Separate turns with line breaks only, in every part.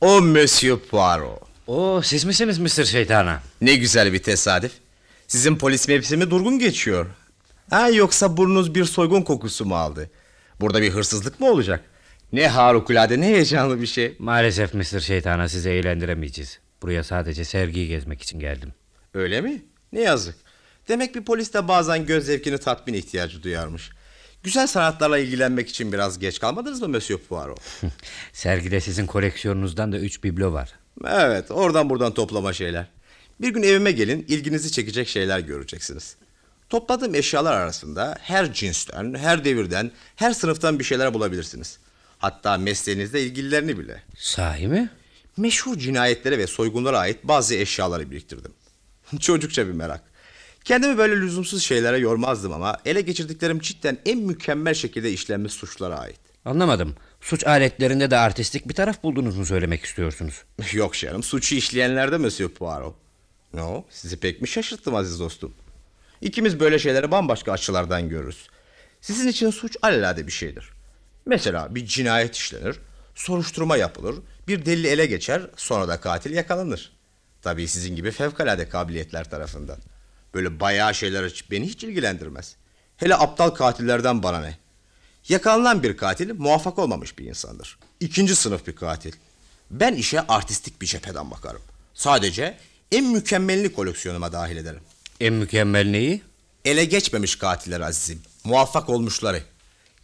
O Monsieur Poirot.
Oo siz misiniz Mr. Şeytana?
Ne güzel bir tesadüf. Sizin polis mevsimi durgun geçiyor. Ha yoksa burnunuz bir soygun kokusu mu aldı? Burada bir hırsızlık mı olacak? Ne harikulade ne heyecanlı bir şey.
Maalesef Mr. Şeytana sizi eğlendiremeyeceğiz. Buraya sadece sergiyi gezmek için geldim.
Öyle mi? Ne yazık. Demek bir polis de bazen göz zevkini tatmin ihtiyacı duyarmış. Güzel sanatlarla ilgilenmek için biraz geç kalmadınız mı Monsieur Poirot?
Sergide sizin koleksiyonunuzdan da 3 biblo var.
Evet oradan buradan toplama şeyler. Bir gün evime gelin ilginizi çekecek şeyler göreceksiniz. Topladığım eşyalar arasında her cinsten, her devirden, her sınıftan bir şeyler bulabilirsiniz. Hatta mesleğinizle ilgililerini bile.
Sahi mi?
Meşhur cinayetlere ve soygunlara ait bazı eşyaları biriktirdim. Çocukça bir merak. Kendimi böyle lüzumsuz şeylere yormazdım ama ele geçirdiklerim cidden en mükemmel şekilde işlenmiş suçlara ait.
Anlamadım. Suç aletlerinde de artistik bir taraf buldunuz mu söylemek istiyorsunuz?
Yok canım suçu işleyenlerde Monsieur Poirot. No sizi pek mi şaşırttım aziz dostum? İkimiz böyle şeyleri bambaşka açılardan görürüz. Sizin için suç alelade bir şeydir. Mesela bir cinayet işlenir, soruşturma yapılır, bir delil ele geçer, sonra da katil yakalanır. Tabii sizin gibi fevkalade kabiliyetler tarafından. Böyle bayağı şeyler hiç- beni hiç ilgilendirmez. Hele aptal katillerden bana ne? Yakalanan bir katil muvaffak olmamış bir insandır. İkinci sınıf bir katil. Ben işe artistik bir cepheden bakarım. Sadece en mükemmelini koleksiyonuma dahil ederim.
En mükemmel neyi?
Ele geçmemiş katiller azizim. Muvaffak olmuşları.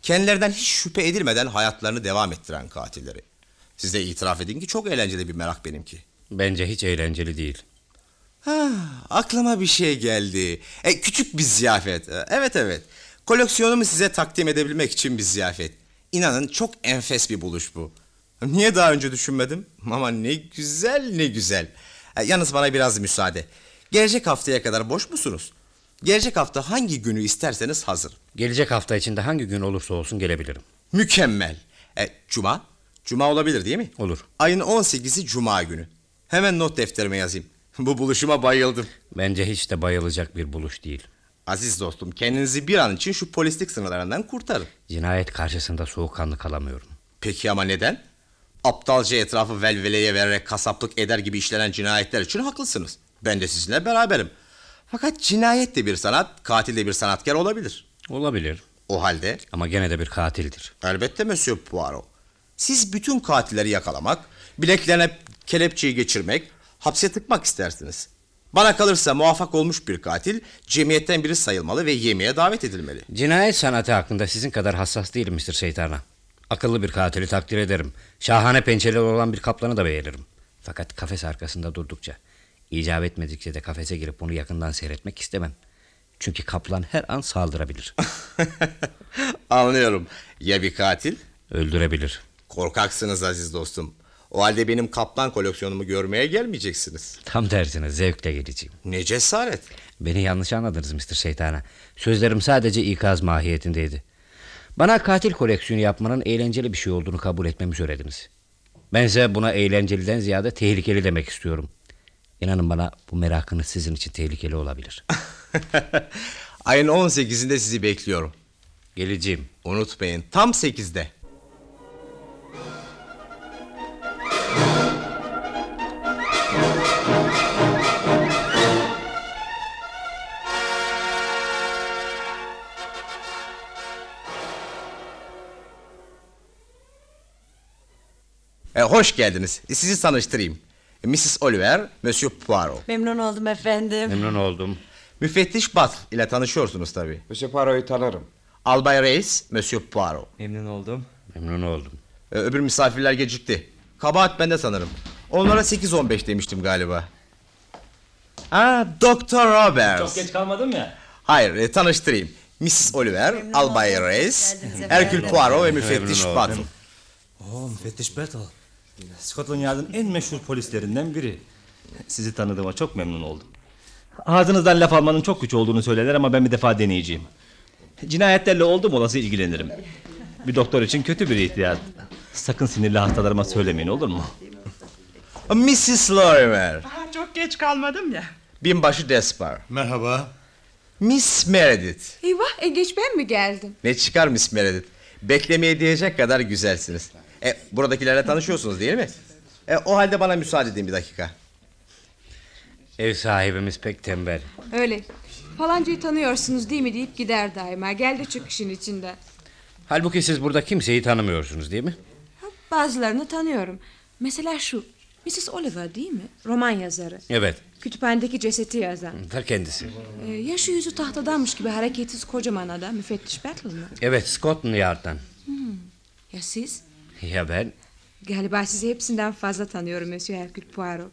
Kendilerinden hiç şüphe edilmeden hayatlarını devam ettiren katilleri. Siz de itiraf edin ki çok eğlenceli bir merak benimki.
Bence hiç eğlenceli değil.
Ha, aklıma bir şey geldi. E, küçük bir ziyafet. E, Evet evet. Koleksiyonumu size takdim edebilmek için bir ziyafet. İnanın çok enfes bir buluş bu. Niye daha önce düşünmedim? Ama ne güzel ne güzel. E, yalnız bana biraz müsaade. Gelecek haftaya kadar boş musunuz? Gelecek hafta hangi günü isterseniz hazır.
Gelecek hafta içinde hangi gün olursa olsun gelebilirim.
Mükemmel. E, cuma? Cuma olabilir değil mi?
Olur.
Ayın 18'i cuma günü. Hemen not defterime yazayım. Bu buluşuma bayıldım.
Bence hiç de bayılacak bir buluş değil.
Aziz dostum kendinizi bir an için şu polislik sınırlarından kurtarın.
Cinayet karşısında soğukkanlı kalamıyorum.
Peki ama neden? Aptalca etrafı velveleye vererek kasaplık eder gibi işlenen cinayetler için haklısınız. Ben de sizinle beraberim. Fakat cinayet de bir sanat, katil de bir sanatkar olabilir.
Olabilir
O halde
ama gene de bir katildir.
elbette Monsieur Poirot. Siz bütün katilleri yakalamak, bileklerine kelepçeyi geçirmek, hapse tıkmak istersiniz. Bana kalırsa muvaffak olmuş bir katil cemiyetten biri sayılmalı ve yemeğe davet edilmeli.
Cinayet sanatı hakkında sizin kadar hassas değilim Mr. Şeytana. Akıllı bir katili takdir ederim. Şahane pençeleri olan bir kaplanı da beğenirim. Fakat kafes arkasında durdukça, icap etmedikçe de kafese girip onu yakından seyretmek istemem. Çünkü kaplan her an saldırabilir,
Anlıyorum. Ya bir katil?
öldürebilir.
Korkaksınız aziz dostum. O halde benim kaplan koleksiyonumu görmeye gelmeyeceksiniz.
Tam tersine zevkle geleceğim.
Ne cesaret.
Beni yanlış anladınız Mr. Şeytana. Sözlerim sadece ikaz mahiyetindeydi. Bana katil koleksiyonu yapmanın eğlenceli bir şey olduğunu kabul etmemi söylediniz. Bense buna eğlenceliden ziyade tehlikeli demek istiyorum. İnanın bana bu merakınız sizin için tehlikeli olabilir.
Ayın 18'inde sizi bekliyorum.
Geleceğim.
Unutmayın tam 8'de. E, hoş geldiniz. Sizi tanıştırayım. Mrs. Oliver, Monsieur Poirot.
Memnun oldum efendim.
Memnun oldum.
Müfettiş Bat ile tanışıyorsunuz tabii.
Monsieur Poirot'u tanırım.
Albay Reis, Monsieur Poirot.
Memnun oldum.
Memnun oldum.
Ee, Öbür misafirler gecikti. Kabahat bende sanırım. Onlara 8-15 demiştim galiba. Ha, Doktor Roberts.
Çok geç kalmadım ya.
Hayır, e, tanıştırayım. Mrs. Oliver, Er- Albay
oldum.
Reis,
Geldiniz efendim.
Herkül Poirot ve müfettiş
oldum.
Battle.
Oo müfettiş Battle. Scotland Yard'ın en meşhur polislerinden biri. Sizi tanıdığıma çok memnun oldum. Ağzınızdan laf almanın çok güç olduğunu söylerler ama ben bir defa deneyeceğim. Cinayetlerle oldum olası ilgilenirim. Bir doktor için kötü bir ihtiyat. Sakın sinirli hastalarıma söylemeyin olur mu?
Mrs. Lorimer,
Ha, Çok geç kalmadım ya.
binbaşı Despar.
Merhaba.
Miss Meredith.
Eyvah en geç ben mi geldim?
Ne çıkar Miss Meredith? Beklemeye diyecek kadar güzelsiniz. E, buradakilerle tanışıyorsunuz değil mi? E, o halde bana müsaade edin bir dakika.
Ev sahibimiz pek tembel.
Öyle. Falancayı tanıyorsunuz değil mi deyip gider daima. Gel de çık işin içinden.
Halbuki siz burada kimseyi tanımıyorsunuz değil mi?
Ha, Bazılarını tanıyorum. Mesela şu. Mrs. Oliver değil mi? Roman yazarı.
Evet.
Kütüphanedeki ceseti yazan.
Ta kendisi.
Ee, yaşı yüzü tahtadanmış gibi hareketsiz kocaman adam. Müfettiş Battle mı? Hmm.
Evet Scotland Yard'dan.
Ya siz?
Ya ben?
Galiba sizi hepsinden fazla tanıyorum Monsieur Hercule Poirot.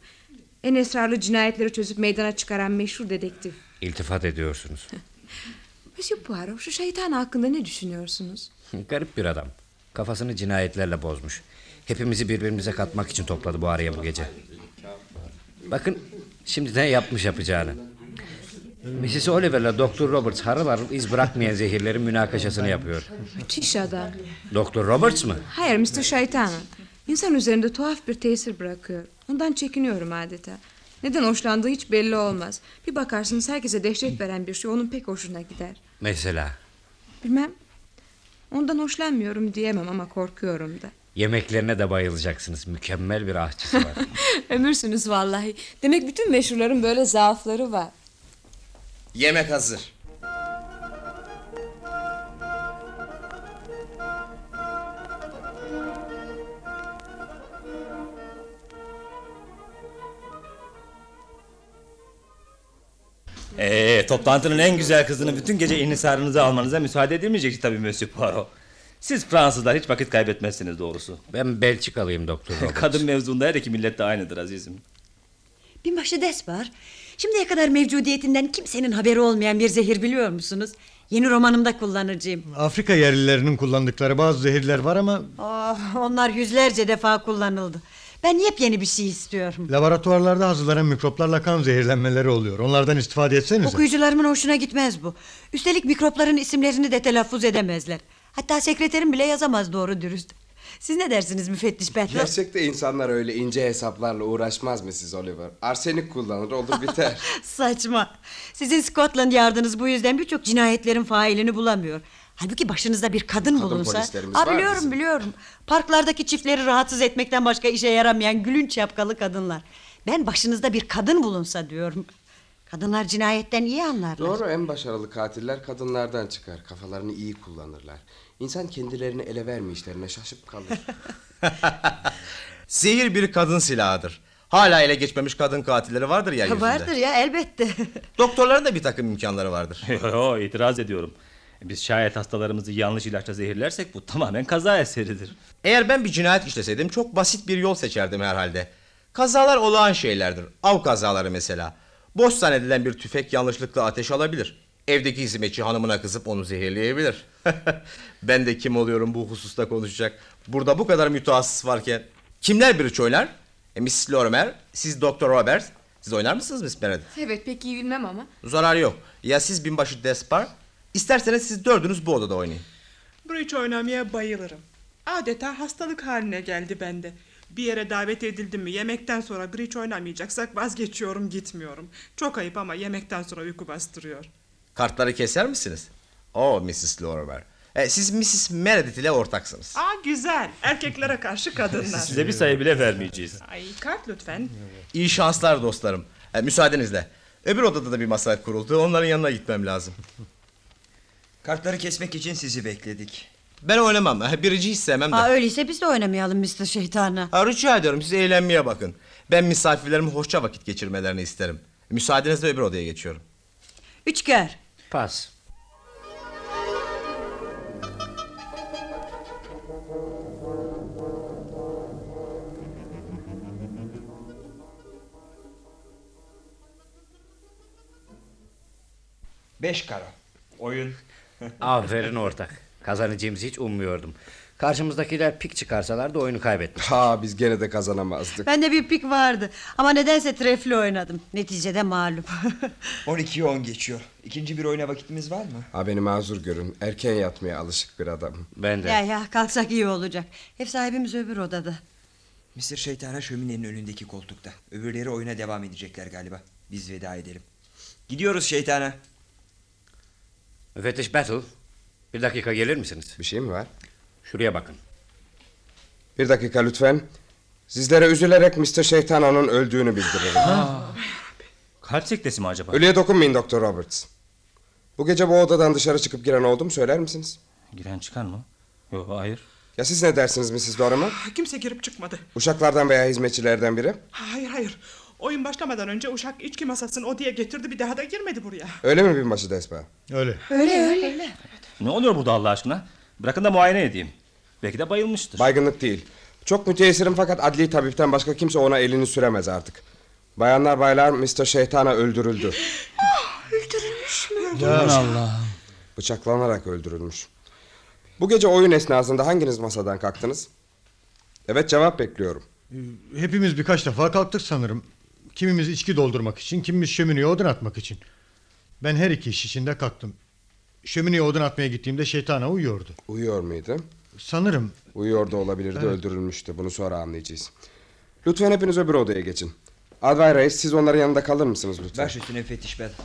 En esrarlı cinayetleri çözüp meydana çıkaran meşhur dedektif.
İltifat ediyorsunuz.
Monsieur Poirot şu şeytan hakkında ne düşünüyorsunuz?
Garip bir adam. Kafasını cinayetlerle bozmuş. Hepimizi birbirimize katmak için topladı bu araya bu gece. Bakın şimdiden yapmış yapacağını. Mrs. Oliver'la Doktor Roberts harıl harıl iz bırakmayan zehirlerin münakaşasını yapıyor.
Müthiş adam.
Doktor Roberts mı?
Hayır Mr. Şeytan. İnsan üzerinde tuhaf bir tesir bırakıyor. Ondan çekiniyorum adeta. Neden hoşlandığı hiç belli olmaz. Bir bakarsınız herkese dehşet veren bir şey onun pek hoşuna gider.
Mesela
Bilmem. Ondan hoşlanmıyorum diyemem ama korkuyorum da.
yemeklerine de bayılacaksınız. Mükemmel bir ahçısı var.
Ömürsünüz vallahi. Demek bütün meşhurların böyle zaafları var.
Yemek hazır.
Ee, toplantının en güzel kızını bütün gece inhisarınıza almanıza müsaade edilmeyecek tabii Monsieur Poirot. Siz Fransızlar hiç vakit kaybetmezsiniz doğrusu.
Ben Belçikalıyım Doktor Roberts.
Kadın mevzunda her iki millet de aynıdır azizim.
Binbaşı Despar, şimdiye kadar mevcudiyetinden kimsenin haberi olmayan bir zehir biliyor musunuz? Yeni romanımda kullanacağım.
Afrika yerlilerinin kullandıkları bazı zehirler var ama
Oh, onlar yüzlerce defa kullanıldı. Ben yepyeni bir şey istiyorum.
laboratuvarlarda hazırlanan mikroplarla kan zehirlenmeleri oluyor. Onlardan istifade etsenize.
Okuyucularımın hoşuna gitmez bu. Üstelik mikropların isimlerini de telaffuz edemezler. Hatta sekreterim bile yazamaz doğru dürüst. Siz ne dersiniz müfettiş Bentley?
Gerçekte insanlar öyle ince hesaplarla uğraşmaz mı siz Oliver? Arsenik kullanır olur biter.
Saçma. Sizin Scotland Yardınız bu yüzden birçok cinayetlerin failini bulamıyor. Halbuki başınızda bir kadın,
Kadın
bulunsa...
polislerimiz
Aa,
var
biliyorum
bizim.
biliyorum. Parklardaki çiftleri rahatsız etmekten başka işe yaramayan gülünç şapkalı kadınlar. Ben başınızda bir kadın bulunsa diyorum. Kadınlar cinayetten iyi anlarlar.
Doğru en başarılı katiller kadınlardan çıkar. Kafalarını iyi kullanırlar. İnsan kendilerini ele vermeyişlerine şaşıp kalır.
Zehir bir kadın silahıdır. Hala ele geçmemiş kadın katilleri vardır ya yüzünde.
Vardır ya elbette.
Doktorların da bir takım imkanları vardır.
Yo, yo, itiraz ediyorum. Biz şayet hastalarımızı yanlış ilaçla zehirlersek bu tamamen kaza eseridir.
Eğer ben bir cinayet işleseydim çok basit bir yol seçerdim herhalde. Kazalar olağan şeylerdir. Av kazaları mesela. Boş zannedilen bir tüfek yanlışlıkla ateş alabilir. Evdeki hizmetçi hanımına kızıp onu zehirleyebilir. ben de kim oluyorum bu hususta konuşacak. Burada bu kadar mütehassıs varken. Kimler bridge oynar? E, Mrs. Lorimer, siz Dr. Roberts. Siz oynar mısınız Miss Meredith?
Evet pek iyi bilmem ama.
Zararı yok. Ya siz binbaşı Despar? İsterseniz siz dördünüz bu odada oynayın.
Bridge oynamaya bayılırım. Adeta hastalık haline geldi bende. Bir yere davet edildim mi yemekten sonra bridge oynamayacaksak vazgeçiyorum gitmiyorum. Çok ayıp ama yemekten sonra uyku bastırıyor.
Kartları keser misiniz? Oo Mrs. Lorimer. E, siz Mrs. Meredith ile ortaksınız.
Aa güzel erkeklere karşı kadınlar.
Size bir sayı bile vermeyeceğiz.
Ay kart lütfen.
İyi şanslar dostlarım. E, müsaadenizle. Öbür odada da bir masa kuruldu. Onların yanına gitmem lazım.
Kartları kesmek için sizi bekledik.
Ben oynamam. E, Birici hiç sevmem de.
Aa, öyleyse biz de oynamayalım Mr. Şeytana.
Ha, rica ediyorum siz eğlenmeye bakın. Ben misafirlerimi hoşça vakit geçirmelerini isterim. Müsaadenizle öbür odaya geçiyorum.
Üçger.
Pas.
Beş karo. Oyun.
Aferin ortak. Kazanacağımızı hiç ummuyordum. Karşımızdakiler pik çıkarsalar da oyunu kaybetmiş.
ha biz gene de kazanamazdık.
Ben de bir pik vardı. Ama nedense trefli oynadım. Neticede mağlup.
12'ye 10 geçiyor. İkinci bir oyuna vakitimiz var mı?
Ha beni mazur görün. Erken yatmaya alışık bir adamım.
Ben de.
ya ya kalksak iyi olacak. Ev sahibimiz öbür odada.
Mr. Şeytana şöminenin önündeki koltukta. Öbürleri oyuna devam edecekler galiba. Biz veda edelim. Gidiyoruz şeytana.
Müfettiş Battle. Bir dakika gelir misiniz?
Bir şey mi var?
Şuraya bakın.
Bir dakika lütfen. Sizlere üzülerek Mr. Şeytana'nın öldüğünü bildiririm.
Kalp sektesi mi acaba?
Ölüye dokunmayın Doktor Roberts. Bu gece bu odadan dışarı çıkıp giren oldu mu söyler misiniz?
Giren çıkan mı? Yok hayır.
Ya siz ne dersiniz Mrs. Dorman?
Kimse girip çıkmadı.
Uşaklardan veya hizmetçilerden biri?
Hayır hayır. Oyun başlamadan önce uşak içki masasını odaya getirdi bir daha da girmedi buraya.
Öyle mi binbaşı Despa?
Öyle.
Ne oluyor burada Allah aşkına? Bırakın da muayene edeyim. Belki de bayılmıştır.
Baygınlık değil. Çok müteessirim fakat adli tabipten başka kimse ona elini süremez artık. Bayanlar baylar Mr. Şeytana öldürüldü.
Ya,
Bıçaklanarak öldürülmüş. Bu gece oyun esnasında hanginiz masadan kalktınız? Evet cevap bekliyorum.
Ee, hepimiz birkaç defa kalktık sanırım. Kimimiz içki doldurmak için, kimimiz şömineye odun atmak için. Ben her iki iş içinde kalktım. Şömineye odun atmaya gittiğimde şeytana uyuyordu.
Uyuyor muydu?
Sanırım
Uyuyor da olabilirdi öldürülmüştü. Bunu sonra anlayacağız. Lütfen hepiniz öbür odaya geçin. Advay Reis siz onların yanında kalır mısınız lütfen?
Baş üstüne müfettiş Battle.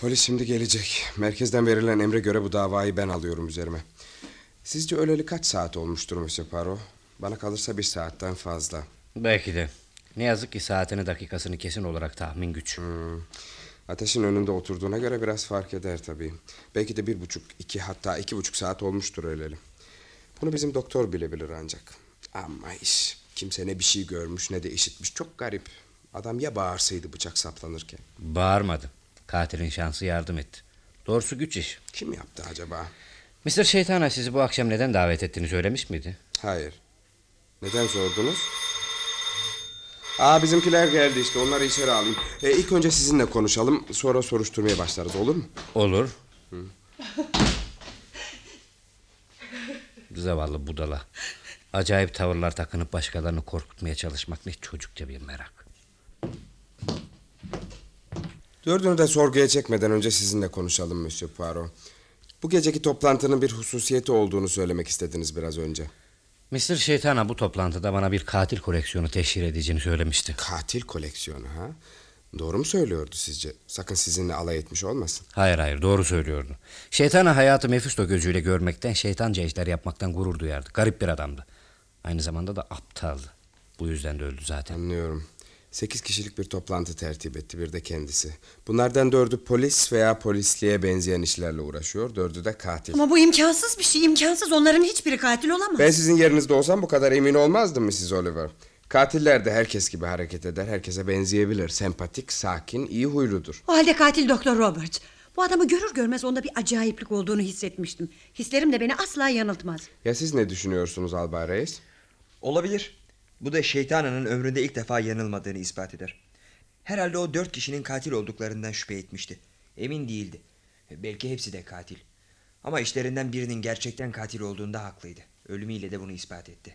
Polis şimdi gelecek. Merkezden verilen emre göre bu davayı ben alıyorum üzerime. Sizce öleli kaç saat olmuştur Monsieur Paro? Bana kalırsa bir saatten fazla.
Belki de. Ne yazık ki saatini dakikasını kesin olarak tahmin güç.
Hmm. Ateşin önünde oturduğuna göre biraz fark eder tabii. Belki de bir buçuk, iki hatta iki buçuk saat olmuştur öleli. Bunu bizim doktor bilebilir ancak. Ama iş. Kimse ne bir şey görmüş ne de işitmiş. Çok garip. Adam ya bağırsaydı bıçak saplanırken.
Bağırmadı. Katilin şansı yardım etti. Doğrusu güç iş.
Kim yaptı acaba?
Mr. Şeytana sizi bu akşam neden davet ettiğini söylemiş miydi?
Hayır. Neden sordunuz? Aa bizimkiler geldi işte onları içeri alayım. E, ilk önce sizinle konuşalım sonra soruşturmaya başlarız olur mu?
Olur. Zavallı budala. Acayip tavırlar takınıp başkalarını korkutmaya çalışmak ne çocukça bir merak.
Dördünü de sorguya çekmeden önce sizinle konuşalım Monsieur Poirot. Bu geceki toplantının bir hususiyeti olduğunu söylemek istediniz biraz önce.
Mr. Şeytana bu toplantıda bana bir katil koleksiyonu teşhir edeceğini söylemişti.
Katil koleksiyonu ha? Doğru mu söylüyordu sizce? Sakın sizinle alay etmiş olmasın.
Hayır hayır doğru söylüyordu. Şeytana hayatı Mefisto gözüyle görmekten, şeytanca işler yapmaktan gurur duyardı. Garip bir adamdı. Aynı zamanda da aptaldı. Bu yüzden de öldü zaten.
Anlıyorum. Sekiz kişilik bir toplantı tertip etti bir de kendisi. Bunlardan dördü polis veya polisliğe benzeyen işlerle uğraşıyor. Dördü de katil.
Ama bu imkansız bir şey imkansız onların hiçbiri katil olamaz.
Ben sizin yerinizde olsam bu kadar emin olmazdım Mrs. Oliver. Katiller de herkes gibi hareket eder, herkese benzeyebilir. Sempatik, sakin, iyi huyludur.
O halde katil Doktor Robert. Bu adamı görür görmez onda bir acayiplik olduğunu hissetmiştim. Hislerim de beni asla yanıltmaz.
Ya siz ne düşünüyorsunuz Albay Reis?
Olabilir. Bu da şeytanının ömründe ilk defa yanılmadığını ispat eder. Herhalde o dört kişinin katil olduklarından şüphe etmişti. Emin değildi. Belki hepsi de katil. Ama işlerinden birinin gerçekten katil olduğunda haklıydı. Ölümüyle de bunu ispat etti.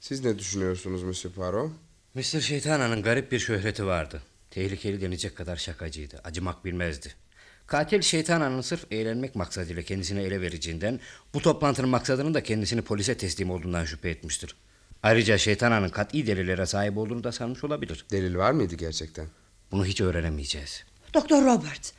Siz ne düşünüyorsunuz Monsieur Poirot?
Mr. Şeytana'nın garip bir şöhreti vardı. Tehlikeli denecek kadar şakacıydı. Acımak bilmezdi. Katil Şeytana'nın sırf eğlenmek maksadıyla kendisini ele vereceğinden, bu toplantının maksadının da kendisini polise teslim olduğundan şüphe etmiştir. Ayrıca Şeytana'nın kat'i delillere sahip olduğunu da sanmış olabilir.
Delil var mıydı gerçekten?
Bunu hiç öğrenemeyeceğiz.
Doktor Robert.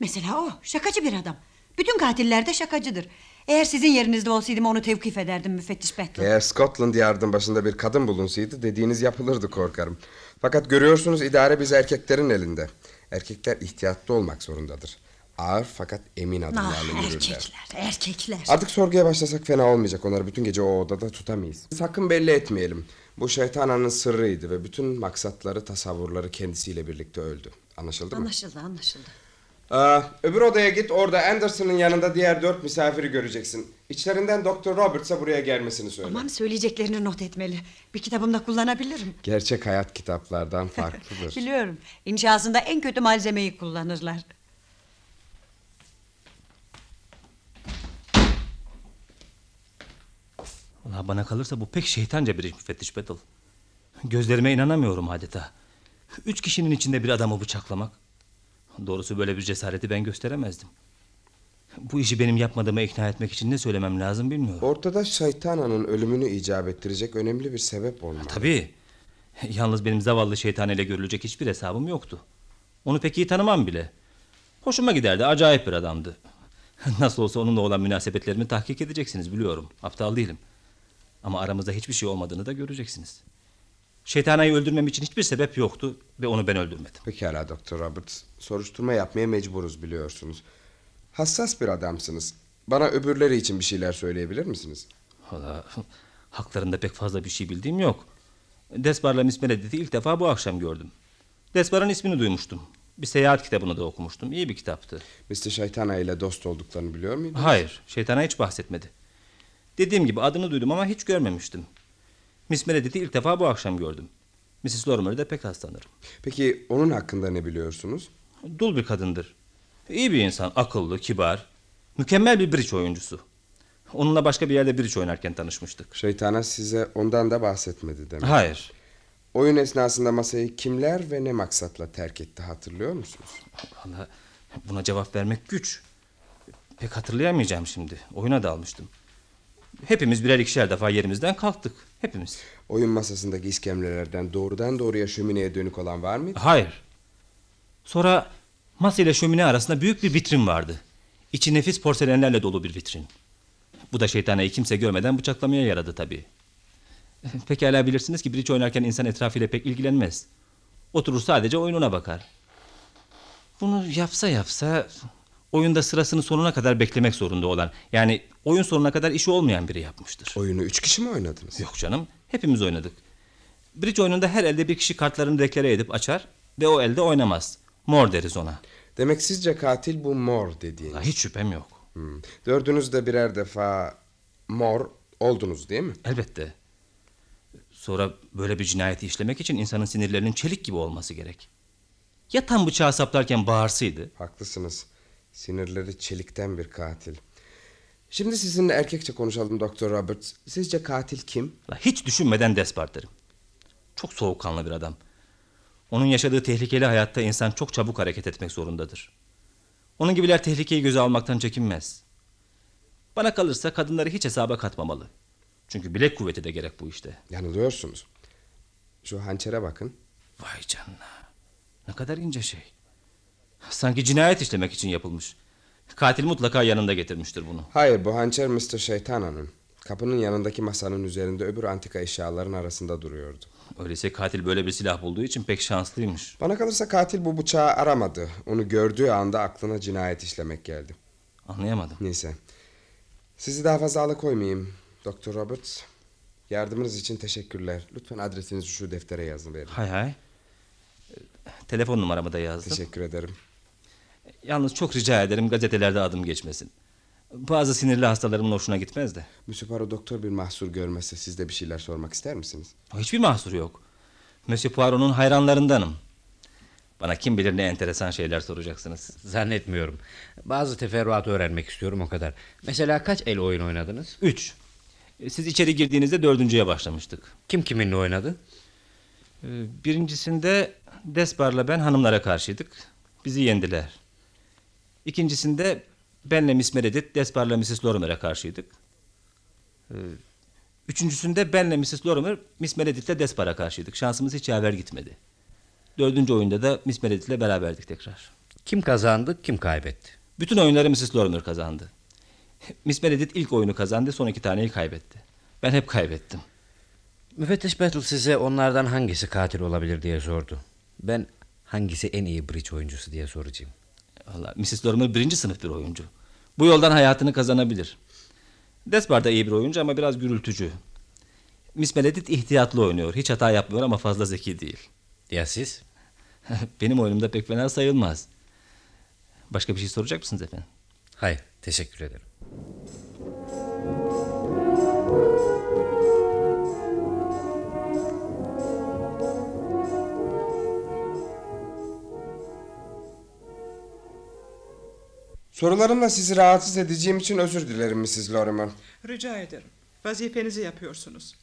Mesela o şakacı bir adam. Bütün katiller de şakacıdır. Eğer sizin yerinizde olsaydım onu tevkif ederdim müfettiş Battle.
Eğer Scotland Yard'ın başında bir kadın bulunsaydı dediğiniz yapılırdı korkarım. Fakat görüyorsunuz idare biz erkeklerin elinde. Erkekler ihtiyatlı olmak zorundadır. Ağır fakat emin adımlarla
ah,
yürürler.
erkekler, erkekler.
Artık sorguya başlasak fena olmayacak. Onları bütün gece o odada tutamayız. Sakın belli etmeyelim. Bu şeytananın sırrıydı ve bütün maksatları, tasavvurları kendisiyle birlikte öldü. Anlaşıldı mı?
Anlaşıldı, anlaşıldı.
Aa, öbür odaya git. Orada Anderson'ın yanında diğer dört misafiri göreceksin. İçlerinden Doktor Roberts'a buraya gelmesini söyle.
Tamam söyleyeceklerini not etmeli. Bir kitabımda kullanabilirim.
Gerçek hayat kitaplardan farklıdır.
Biliyorum. İnşasında en kötü malzemeyi kullanırlar.
Valla bana kalırsa bu pek şeytanca bir iş müfettiş Battle. Gözlerime inanamıyorum adeta. Üç kişinin içinde bir adamı bıçaklamak. Doğrusu böyle bir cesareti ben gösteremezdim. Bu işi benim yapmadığıma ikna etmek için ne söylemem lazım bilmiyorum.
Ortada şeytananın ölümünü icap ettirecek önemli bir sebep olmalı.
Tabii. Yalnız benim zavallı şeytan ile görülecek hiçbir hesabım yoktu. Onu pek iyi tanımam bile. Hoşuma giderdi. Acayip bir adamdı. Nasıl olsa onunla olan münasebetlerimi tahkik edeceksiniz biliyorum. Aptal değilim. Ama aramızda hiçbir şey olmadığını da göreceksiniz. Şeytanayı öldürmem için hiçbir sebep yoktu ve onu ben öldürmedim.
Pekala Doktor Roberts. Soruşturma yapmaya mecburuz biliyorsunuz. Hassas bir adamsınız. Bana öbürleri için bir şeyler söyleyebilir misiniz?
Valla haklarında pek fazla bir şey bildiğim yok. Desbar'la Miss Meredith'i ilk defa bu akşam gördüm. Desbar'ın ismini duymuştum. Bir seyahat kitabını da okumuştum. İyi bir kitaptı.
Mr. Şeytana ile dost olduklarını biliyor muydunuz?
Hayır, şeytana hiç bahsetmedi. Dediğim gibi adını duydum ama hiç görmemiştim. Miss Meredith'i ilk defa bu akşam gördüm. Mrs. Lorimer'ı da pek hastanırım.
Peki onun hakkında ne biliyorsunuz?
Dul bir kadındır. İyi bir insan, akıllı, kibar. Mükemmel bir bridge oyuncusu. Onunla başka bir yerde bridge oynarken tanışmıştık.
Şeytana size ondan da bahsetmedi demek.
Hayır,
Oyun esnasında masayı kimler ve ne maksatla terk etti hatırlıyor musunuz?
Valla buna cevap vermek güç. Pek hatırlayamayacağım şimdi. Oyuna dalmıştım. Hepimiz birer ikişer defa yerimizden kalktık. Hepimiz.
Oyun masasındaki iskemlelerden doğrudan doğruya şömineye dönük olan var mıydı?
Hayır. Sonra masa ile şömine arasında büyük bir vitrin vardı. İçi nefis porselenlerle dolu bir vitrin. Bu da şeytanayı kimse görmeden bıçaklamaya yaradı tabii. Pekala bilirsiniz ki bridge oynarken insan etrafıyla pek ilgilenmez. Oturur sadece oyununa bakar. Bunu yapsa yapsa oyunda sırasını sonuna kadar beklemek zorunda olan yani oyun sonuna kadar işi olmayan biri yapmıştır.
Oyunu üç kişi mi oynadınız?
Yok canım hepimiz oynadık. Bridge oyununda her elde bir kişi kartlarını deklare edip açar ve o elde oynamaz. Mor deriz ona.
Demek sizce katil bu mor dediğiniz.
Ya Hiç şüphem yok.
Hmm. Dördünüz de birer defa mor oldunuz değil mi?
Elbette. Sonra böyle bir cinayeti işlemek için insanın sinirlerinin çelik gibi olması gerek. Ya tam bıçağı saplarken bağırsaydı?
Haklısınız. Sinirleri çelikten bir katil. Şimdi sizinle erkekçe konuşalım Doktor Roberts. Sizce katil kim?
La hiç düşünmeden despart derim. Çok soğukkanlı bir adam. Onun yaşadığı tehlikeli hayatta insan çok çabuk hareket etmek zorundadır. Onun gibiler tehlikeyi göze almaktan çekinmez. Bana kalırsa kadınları hiç hesaba katmamalı. Çünkü bilek kuvveti de gerek bu işte.
Yanılıyorsunuz. Şu hançere bakın.
Vay canına. Ne kadar ince şey. Sanki cinayet işlemek için yapılmış. Katil mutlaka yanında getirmiştir bunu.
Hayır bu hançer Mr. Şeytana'nın. Kapının yanındaki masanın üzerinde öbür antika eşyaların arasında duruyordu.
Öyleyse katil böyle bir silah bulduğu için pek şanslıymış.
Bana kalırsa katil bu bıçağı aramadı. Onu gördüğü anda aklına cinayet işlemek geldi.
Anlayamadım.
Neyse. Sizi daha fazla alıkoymayayım Doktor Roberts. Yardımınız için teşekkürler. Lütfen adresinizi şu deftere yazın verin.
Hay hay. Ee, Telefon numaramı da yazdım.
Teşekkür ederim.
Yalnız çok rica ederim gazetelerde adım geçmesin. Bazı sinirli hastalarımın hoşuna gitmez de.
Monsieur Poirot doktor bir mahsur görmezse siz de bir şeyler sormak ister misiniz?
Hiçbir mahsuru yok. Monsieur Poirot'un hayranlarındanım. Bana kim bilir ne enteresan şeyler soracaksınız.
Zannetmiyorum. Bazı teferruatı öğrenmek istiyorum o kadar. Mesela kaç el oyun oynadınız?
Üç. Ee, Siz içeri girdiğinizde dördüncüye başlamıştık.
Kim kiminle oynadı?
Ee, Birincisinde Desbar'la ben hanımlara karşıydık. Bizi yendiler. İkincisinde benle Miss Meredith, Desbar'la Mrs. Lorimer'e karşıydık. Ee, Üçüncüsünde benle Mrs. Lorimer, Miss Meredith'le Desbar'a karşıydık. Şansımız hiç yaver gitmedi. Dördüncü oyunda da Miss Meredith'le beraberdik tekrar.
Kim kazandı, kim kaybetti?
Bütün oyunları Mrs. Lorimer kazandı. Miss Meredith ilk oyunu kazandı, son iki taneyi kaybetti. Ben hep kaybettim.
Müfettiş Battle size onlardan hangisi katil olabilir diye sordu. Ben hangisi en iyi bridge oyuncusu diye soracağım.
Valla Mrs. Lorimer birinci sınıf bir oyuncu. Bu yoldan hayatını kazanabilir. Despard da iyi bir oyuncu ama biraz gürültücü. Miss Meredith ihtiyatlı oynuyor. Hiç hata yapmıyor ama fazla zeki değil.
Ya siz?
Benim oyunumda pek fena sayılmaz. Başka bir şey soracak mısınız efendim?
Hayır, teşekkür ederim.
Sorularımla sizi rahatsız edeceğim için özür dilerim Mrs. Lorimer.
Rica ederim. Vazifenizi yapıyorsunuz.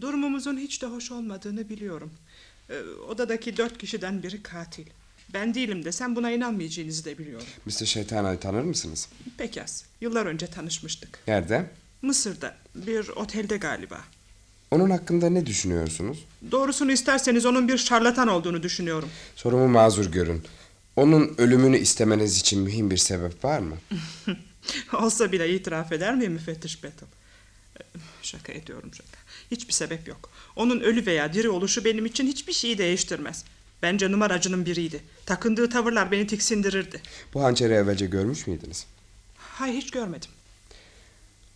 Durumumuzun hiç de hoş olmadığını biliyorum. Ee, odadaki dört kişiden biri katil. Ben değilim desem buna inanmayacağınızı da biliyorum.
Mr. Şeytana'yı tanır mısınız?
Peki az. Yıllar önce tanışmıştık.
Nerede?
Mısır'da bir otelde galiba.
Onun hakkında ne düşünüyorsunuz?
Doğrusunu isterseniz onun bir şarlatan olduğunu düşünüyorum.
Sorumu mazur görün. Onun ölümünü istemeniz için mühim bir sebep var mı?
Olsa bile itiraf eder miyim müfettiş Battle? Ee, Şaka ediyorum şaka. Hiçbir sebep yok. Onun ölü veya diri oluşu benim için hiçbir şeyi değiştirmez. Bence numaracının biriydi. Takındığı tavırlar beni tiksindirirdi.
Bu hançeri evvelce görmüş müydünüz?
Hayır hiç görmedim.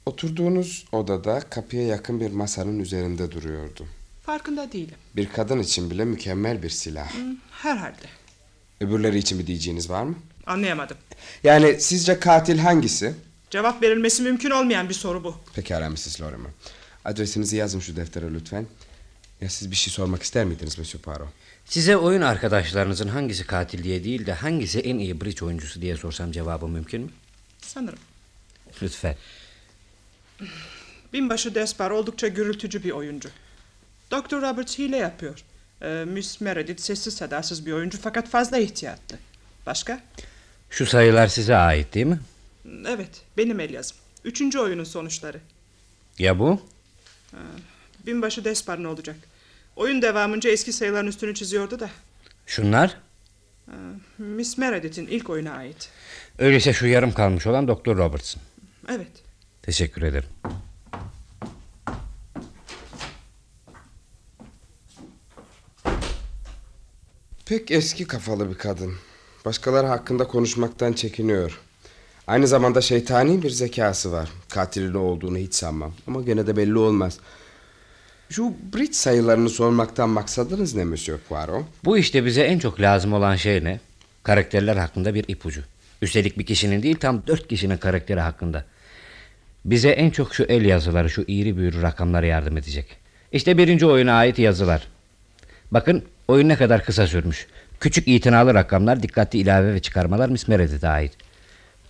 Oturduğunuz odada kapıya yakın bir masanın üzerinde duruyordu.
Farkında değilim. Hmm,
Bir kadın için bile mükemmel bir silah.
Herhalde.
Öbürleri için bir diyeceğiniz var mı?
Anlayamadım.
Yani sizce katil hangisi?
Cevap verilmesi mümkün olmayan bir soru bu.
Pekala Mrs. Lorimer. Adresinizi yazın şu deftere lütfen. Ya siz bir şey sormak ister miydiniz Monsieur Poirot?
Size oyun arkadaşlarınızın hangisi katil diye değil de hangisi en iyi bridge oyuncusu diye sorsam cevabı mümkün mü?
Sanırım.
Lütfen.
Binbaşı Despar oldukça gürültücü bir oyuncu. Dr. Roberts hile yapıyor. Ee, Miss Meredith sessiz sedasız bir oyuncu fakat fazla ihtiyatlı. Başka?
Şu sayılar size ait değil mi?
Evet, benim el yazım. Üçüncü oyunun sonuçları.
Ya bu?
Binbaşı Despar ne olacak? Oyun devamınca eski sayıların üstünü çiziyordu da.
Şunlar?
Ee, Miss Meredith'in ilk oyuna ait.
Öyleyse şu yarım kalmış olan Doktor Robertson.
Evet.
Teşekkür ederim.
Pek eski kafalı bir kadın. Başkaları hakkında konuşmaktan çekiniyor. Aynı zamanda şeytani bir zekası var. Katilin o olduğunu hiç sanmam. Ama gene de belli olmaz. Şu Brit sayılarını sormaktan maksadınız ne Monsieur Poirot?
Bu işte bize en çok lazım olan şey ne? Karakterler hakkında bir ipucu. Üstelik bir kişinin değil tam dört kişinin karakteri hakkında. Bize en çok şu el yazıları, şu iğri büğrü rakamlar yardım edecek. İşte birinci oyuna ait yazılar. Bakın oyun ne kadar kısa sürmüş. Küçük itinalı rakamlar, dikkatli ilave ve çıkarmalar Miss Meredith'e ait.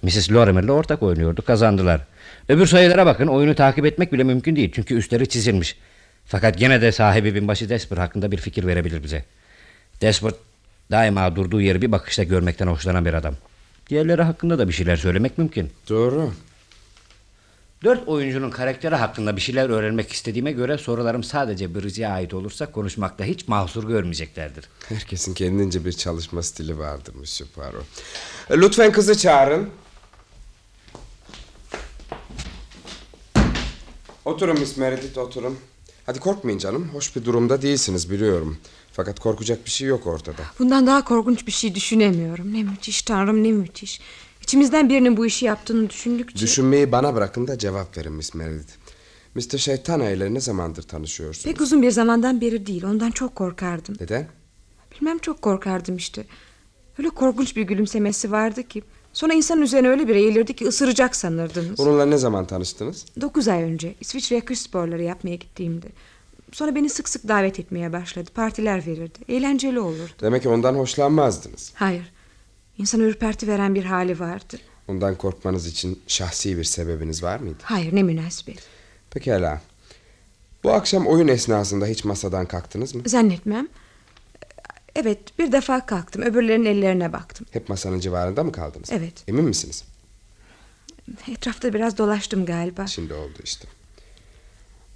Mrs. Lorimer'le ortak oynuyordu, kazandılar. Öbür sayılara bakın, oyunu takip etmek bile mümkün değil çünkü üstleri çizilmiş. Fakat gene de sahibi binbaşı Desper hakkında bir fikir verebilir bize. Desper daima durduğu yeri bir bakışta görmekten hoşlanan bir adam. Diğerleri hakkında da bir şeyler söylemek mümkün.
Doğru.
Dört oyuncunun karakteri hakkında bir şeyler öğrenmek istediğime göre sorularım sadece Bridge'e ait olursa konuşmakta hiç mahsur görmeyeceklerdir.
Herkesin kendince bir çalışma stili vardır Monsieur Poirot. Lütfen kızı çağırın. Oturun Miss Meredith oturun. Hadi korkmayın canım. Hoş bir durumda değilsiniz biliyorum. Fakat korkacak bir şey yok ortada.
Bundan daha korkunç bir şey düşünemiyorum. Ne müthiş tanrım ne müthiş. İçimizden birinin bu işi yaptığını düşündükçe...
Düşünmeyi bana bırakın da cevap verin Miss Meredith. Mr. Şeytana ile ne zamandır tanışıyorsunuz?
Pek uzun bir zamandan beri değil. Ondan çok korkardım.
Neden?
Bilmem çok korkardım işte. Öyle korkunç bir gülümsemesi vardı ki. Sonra insan üzerine öyle bir eğilirdi ki ısıracak sanırdınız.
Onunla ne zaman tanıştınız?
Dokuz ay önce İsviçre'ye kış sporları yapmaya gittiğimde. Sonra beni sık sık davet etmeye başladı. Partiler verirdi. Eğlenceli olurdu.
Demek ki ondan hoşlanmazdınız.
Hayır. İnsan ürperti veren bir hali vardı.
Ondan korkmanız için şahsi bir sebebiniz var mıydı?
Hayır ne münasebet.
Pekala. Bu akşam oyun esnasında hiç masadan kalktınız mı?
Zannetmem. Evet bir defa kalktım. Öbürlerinin ellerine baktım.
Hep masanın civarında mı kaldınız?
Evet.
Emin misiniz?
Etrafta biraz dolaştım galiba.
Şimdi oldu işte.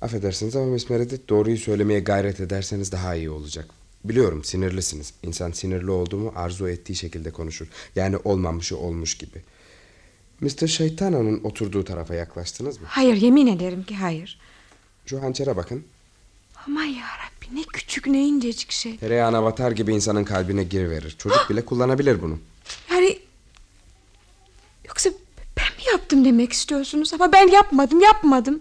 Affedersiniz ama Miss Meredith doğruyu söylemeye gayret ederseniz daha iyi olacak. Biliyorum sinirlisiniz. İnsan sinirli oldu mu arzu ettiği şekilde konuşur. Yani olmamışı olmuş gibi. Mr. Şeytana'nın oturduğu tarafa yaklaştınız mı?
Hayır yemin ederim ki hayır.
Şu hançere bakın.
Aman yarabbi ne küçük ne incecik şey.
Tereyağına batar gibi insanın kalbine giriverir. Çocuk bile kullanabilir bunu.
Yani yoksa ben mi yaptım demek istiyorsunuz ama ben yapmadım yapmadım.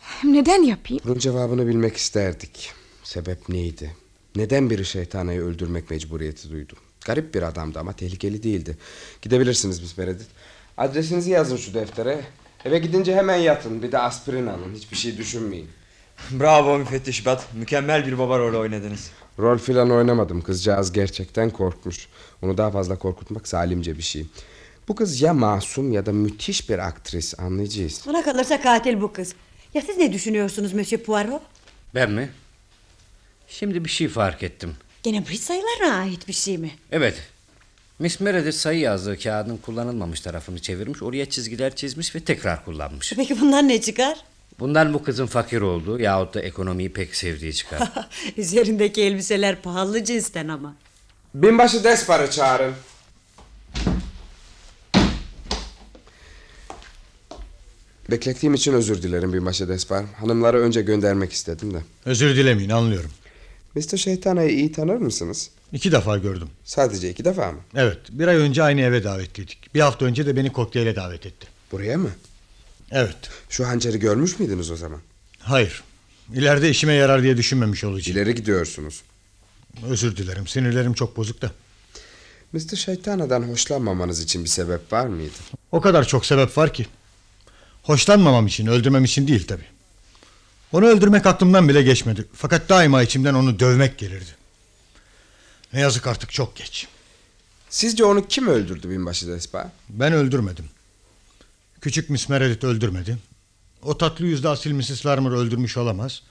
Hem neden yapayım?
Bunun cevabını bilmek isterdik. Sebep neydi? Neden biri şeytanayı öldürmek mecburiyeti duydu? Garip bir adamdı ama tehlikeli değildi. Gidebilirsiniz Miss Meredith. Adresinizi yazın şu deftere. Eve gidince hemen yatın. Bir de aspirin alın. Hiçbir şey düşünmeyin.
Bravo müfettiş Bat. Mükemmel bir baba rolü oynadınız.
Rol filan oynamadım. Kızcağız gerçekten korkmuş. Onu daha fazla korkutmak zalimce bir şey. Bu kız ya masum ya da müthiş bir aktris. Anlayacağız.
Buna kalırsa katil bu kız. Ya siz ne düşünüyorsunuz Mösyö Poirot?
Ben mi? Şimdi bir şey fark ettim.
Gene Brit sayılarına ait bir şey mi?
Evet. Miss Meredith sayı yazdığı kağıdın kullanılmamış tarafını çevirmiş. Oraya çizgiler çizmiş ve tekrar kullanmış.
Peki bundan ne çıkar?
Bundan bu kızın fakir olduğu yahut da ekonomiyi pek sevdiği çıkar.
Üzerindeki elbiseler pahalı cinsten ama.
Binbaşı Despar'ı çağırın. Beklettiğim için özür dilerim Binbaşı Despar. Hanımları önce göndermek istedim de.
Özür dilemeyin anlıyorum.
Mr. Şeytana'yı iyi tanır mısınız?
İki defa gördüm.
Sadece iki defa mı?
Evet bir ay önce aynı eve davetliydik. Bir hafta önce de beni kokteyle davet etti.
Buraya mı?
Evet.
Şu hançeri görmüş müydünüz o zaman?
Hayır. İleride işime yarar diye düşünmemiş olacağım.
İleri gidiyorsunuz.
Özür dilerim sinirlerim çok bozuk da.
Mr. Şeytana'dan hoşlanmamanız için bir sebep var mıydı?
O kadar çok sebep var ki. Hoşlanmamam için, öldürmem için değil tabii. Onu öldürmek aklımdan bile geçmedi. Fakat daima içimden onu dövmek gelirdi. Ne yazık artık çok geç.
Sizce onu kim öldürdü Binbaşı Despar?
Ben öldürmedim. Küçük Miss Meredith öldürmedi. O tatlı yüzlü asil Mrs. Larmer öldürmüş olamaz.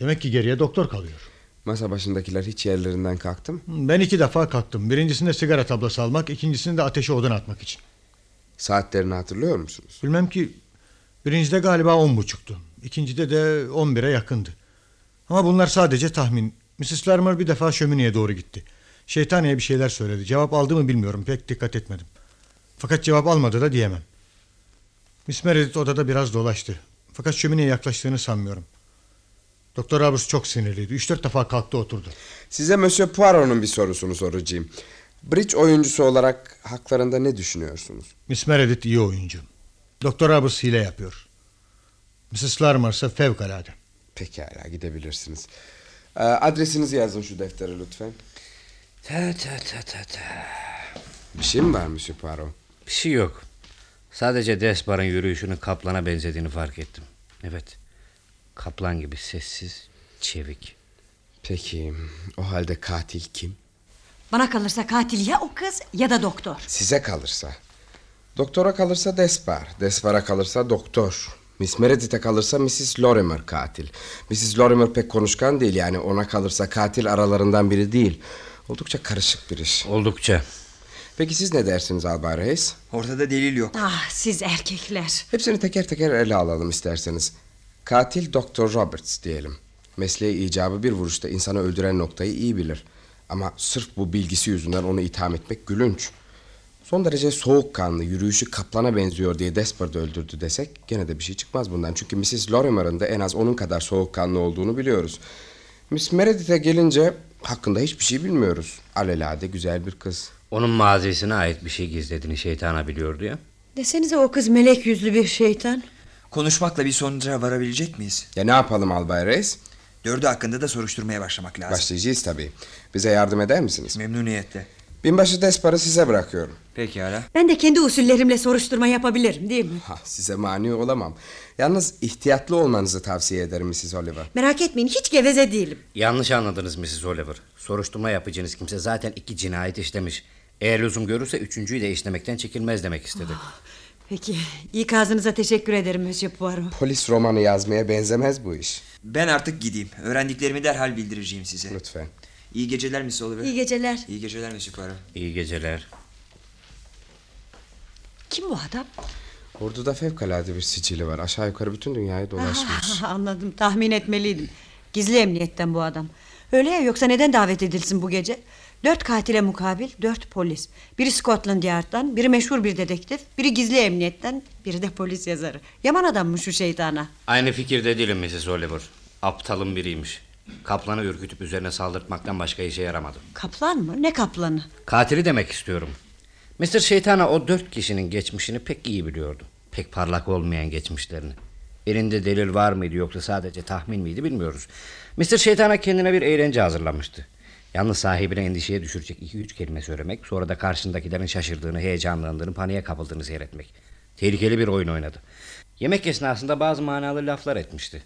Demek ki geriye doktor kalıyor.
Masa başındakiler hiç yerlerinden kalktı mı?
Ben iki defa kalktım. Birincisinde sigara tablası almak, ikincisinde ateşe odun atmak için.
Saatlerini hatırlıyor musunuz?
Bilmem ki birincide galiba on buçuktu. İkincide de on bire yakındı. Ama bunlar sadece tahmin. Mrs. Larmer bir defa şömineye doğru gitti. Şeytaniye bir şeyler söyledi. Cevap aldı mı bilmiyorum. Pek dikkat etmedim. Fakat cevap almadı da diyemem. Miss Meredith odada biraz dolaştı. Fakat şömineye yaklaştığını sanmıyorum. Doktor Roberts çok sinirliydi. Üç dört defa kalktı oturdu.
Size Monsieur Poirot'un bir sorusunu soracağım. Bridge oyuncusu olarak haklarında ne düşünüyorsunuz?
Miss Meredith iyi oyuncu. Doktor Roberts hile yapıyor. Mrs. Larmer ise fevkalade.
Pekala gidebilirsiniz. Ee, adresinizi yazın şu deftere lütfen.
ta ta ta ta ta.
Bir şey mi var Monsieur Poirot?
Bir şey yok. Sadece Desbar'ın yürüyüşünün kaplana benzediğini fark ettim. Evet. Kaplan gibi sessiz, çevik.
Peki o halde katil kim?
Bana kalırsa katil ya o kız ya da doktor.
Size kalırsa. Doktora kalırsa Despar. Despar'a kalırsa doktor. Miss Meredith'e kalırsa Mrs. Lorimer katil. Mrs. Lorimer pek konuşkan değil yani ona kalırsa katil aralarından biri değil. Oldukça karışık bir iş.
Oldukça.
Peki siz ne dersiniz Albay Reis?
Ortada delil yok.
Ah siz erkekler.
Hepsini teker teker ele alalım isterseniz. Katil Dr. Roberts diyelim. Mesleği icabı bir vuruşta insanı öldüren noktayı iyi bilir. Ama sırf bu bilgisi yüzünden onu itham etmek gülünç. Son derece soğukkanlı, yürüyüşü kaplana benziyor diye Desper'da öldürdü desek gene de bir şey çıkmaz bundan. Çünkü Mrs. Lorimer'ın da en az onun kadar soğukkanlı olduğunu biliyoruz. Miss Meredith'e gelince hakkında hiçbir şey bilmiyoruz. Alelade güzel bir kız.
Onun mazisine ait bir şey gizlediğini şeytana biliyordu ya.
Desenize o kız melek yüzlü bir şeytan.
Konuşmakla bir sonuca varabilecek miyiz?
Ya ne yapalım Albay Reis?
Dördü hakkında da soruşturmaya başlamak lazım.
Başlayacağız tabii. Bize yardım eder misiniz?
Memnuniyetle.
Binbaşı Desper'ı size bırakıyorum.
Pekala.
Ben de kendi usullerimle soruşturma yapabilirim değil mi?
Ha, size mani olamam. Yalnız ihtiyatlı olmanızı tavsiye ederim Mrs. Oliver.
Merak etmeyin hiç geveze değilim.
Yanlış anladınız Mrs. Oliver. Soruşturma yapacağınız kimse zaten iki cinayet işlemiş. Eğer lüzum görürse üçüncüyü de işlemekten çekinmez demek istedi.
Peki ikazınıza teşekkür ederim Monsieur Poirot.
Polis romanı yazmaya benzemez bu iş.
Ben artık gideyim. Öğrendiklerimi derhal bildireceğim size.
Lütfen.
İyi geceler Miss Oliver.
İyi geceler.
İyi geceler Miss Poirot.
İyi geceler.
Kim bu adam?
Ordu'da fevkalade bir sicili var. Aşağı yukarı bütün dünyayı dolaşmış.
Ah, anladım tahmin etmeliydim. Gizli emniyetten bu adam. Öyle ya yoksa neden davet edilsin bu gece? Dört katile mukabil dört polis. Biri Scotland Yard'dan, biri meşhur bir dedektif, biri gizli emniyetten, biri de polis yazarı. Yaman adammış şu şeytana.
Aynı fikirde değilim Mrs. Oliver. Aptalın biriymiş. Kaplanı ürkütüp üzerine saldırtmaktan başka işe yaramadı.
Kaplan mı? Ne kaplanı?
Katili demek istiyorum. Mr. Şeytana o dört kişinin geçmişini pek iyi biliyordu. Pek parlak olmayan geçmişlerini. Elinde delil var mıydı yoksa sadece tahmin miydi bilmiyoruz. Mr. Şeytana kendine bir eğlence hazırlamıştı. Yalnız sahibine endişeye düşürecek iki üç kelime söylemek... ...sonra da karşındakilerin şaşırdığını, heyecanlandığını, paniğe kapıldığını seyretmek. Tehlikeli bir oyun oynadı. Yemek esnasında bazı manalı laflar etmişti.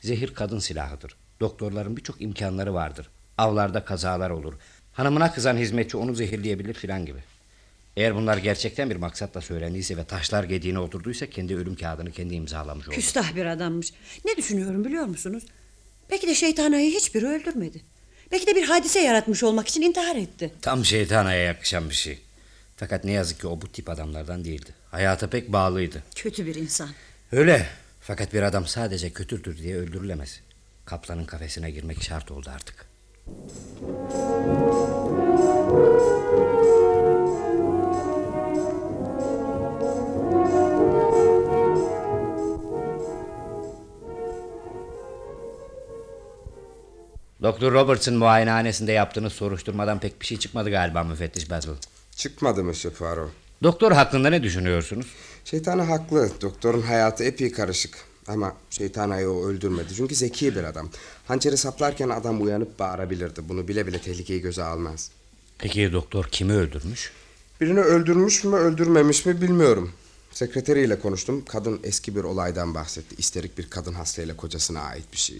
Zehir kadın silahıdır. Doktorların birçok imkanları vardır. Avlarda kazalar olur. Hanımına kızan hizmetçi onu zehirleyebilir filan gibi. Eğer bunlar gerçekten bir maksatla söylendiyse ve taşlar gediğine oturduysa kendi ölüm kağıdını kendi imzalamış oldu.
Küstah bir adammış. Ne düşünüyorum biliyor musunuz? Belki de şeytanayı hiçbiri öldürmedi. Belki de bir hadise yaratmış olmak için intihar etti.
Tam şeytanaya yakışan bir şey. Fakat ne yazık ki o bu tip adamlardan değildi. Hayata pek bağlıydı.
Kötü bir insan.
Öyle. Fakat bir adam sadece kötüdür diye öldürülemez. Kaplanın kafesine girmek şart oldu artık. Doktor Robertson muayenehanesinde yaptığınız soruşturmadan pek bir şey çıkmadı galiba müfettiş Basil.
Çıkmadı Monsieur Poirot.
Doktor hakkında ne düşünüyorsunuz?
Şeytanı haklı. Doktorun hayatı epey karışık. Ama şeytan ayı o öldürmedi. Çünkü zeki bir adam. Hançeri saplarken adam uyanıp bağırabilirdi. Bunu bile bile tehlikeyi göze almaz.
Peki doktor kimi öldürmüş?
Birini öldürmüş mü öldürmemiş mi bilmiyorum. Sekreteriyle konuştum. Kadın eski bir olaydan bahsetti. İsterik bir kadın hastayla kocasına ait bir şey.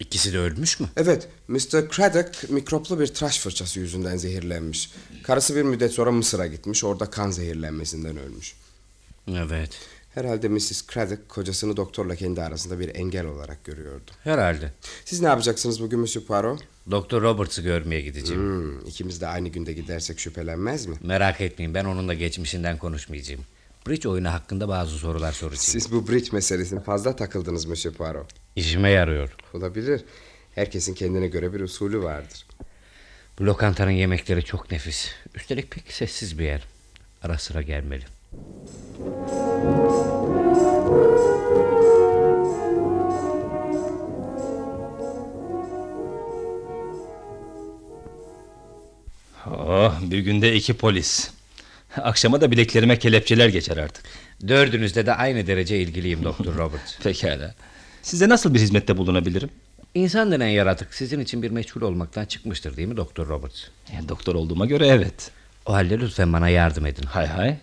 İkisi de ölmüş mü?
Evet, Mr. Craddock mikroplu bir tıraş fırçası yüzünden zehirlenmiş. Karısı bir müddet sonra Mısır'a gitmiş. Orada kan zehirlenmesinden ölmüş.
Evet.
Herhalde Mrs. Craddock kocasını doktorla kendi arasında bir engel olarak görüyordu.
Herhalde.
Siz ne yapacaksınız bugün Monsieur Poirot?
Doktor Roberts'ı görmeye gideceğim.
Hmm, ikimiz de aynı günde gidersek şüphelenmez mi?
Merak etmeyin ben onunla geçmişinden konuşmayacağım. Bridge oyunu hakkında bazı sorular soracağım.
Siz bu bridge meselesine fazla takıldınız Monsieur Poirot.
İşime yarıyor.
Olabilir. Herkesin kendine göre bir usulü vardır.
Bu lokantanın yemekleri çok nefis. Üstelik pek sessiz bir yer. Ara sıra gelmeli.
Oh, bir günde iki polis. Akşama da bileklerime kelepçeler geçer artık.
Dördünüzde de aynı derece ilgiliyim Doktor Roberts.
Pekala. Size nasıl bir hizmette bulunabilirim?
İnsan denen yaratık sizin için bir meçhul olmaktan çıkmıştır değil mi Doktor Roberts?
E, doktor olduğuma göre evet.
O halde lütfen bana yardım edin.
Hay hay.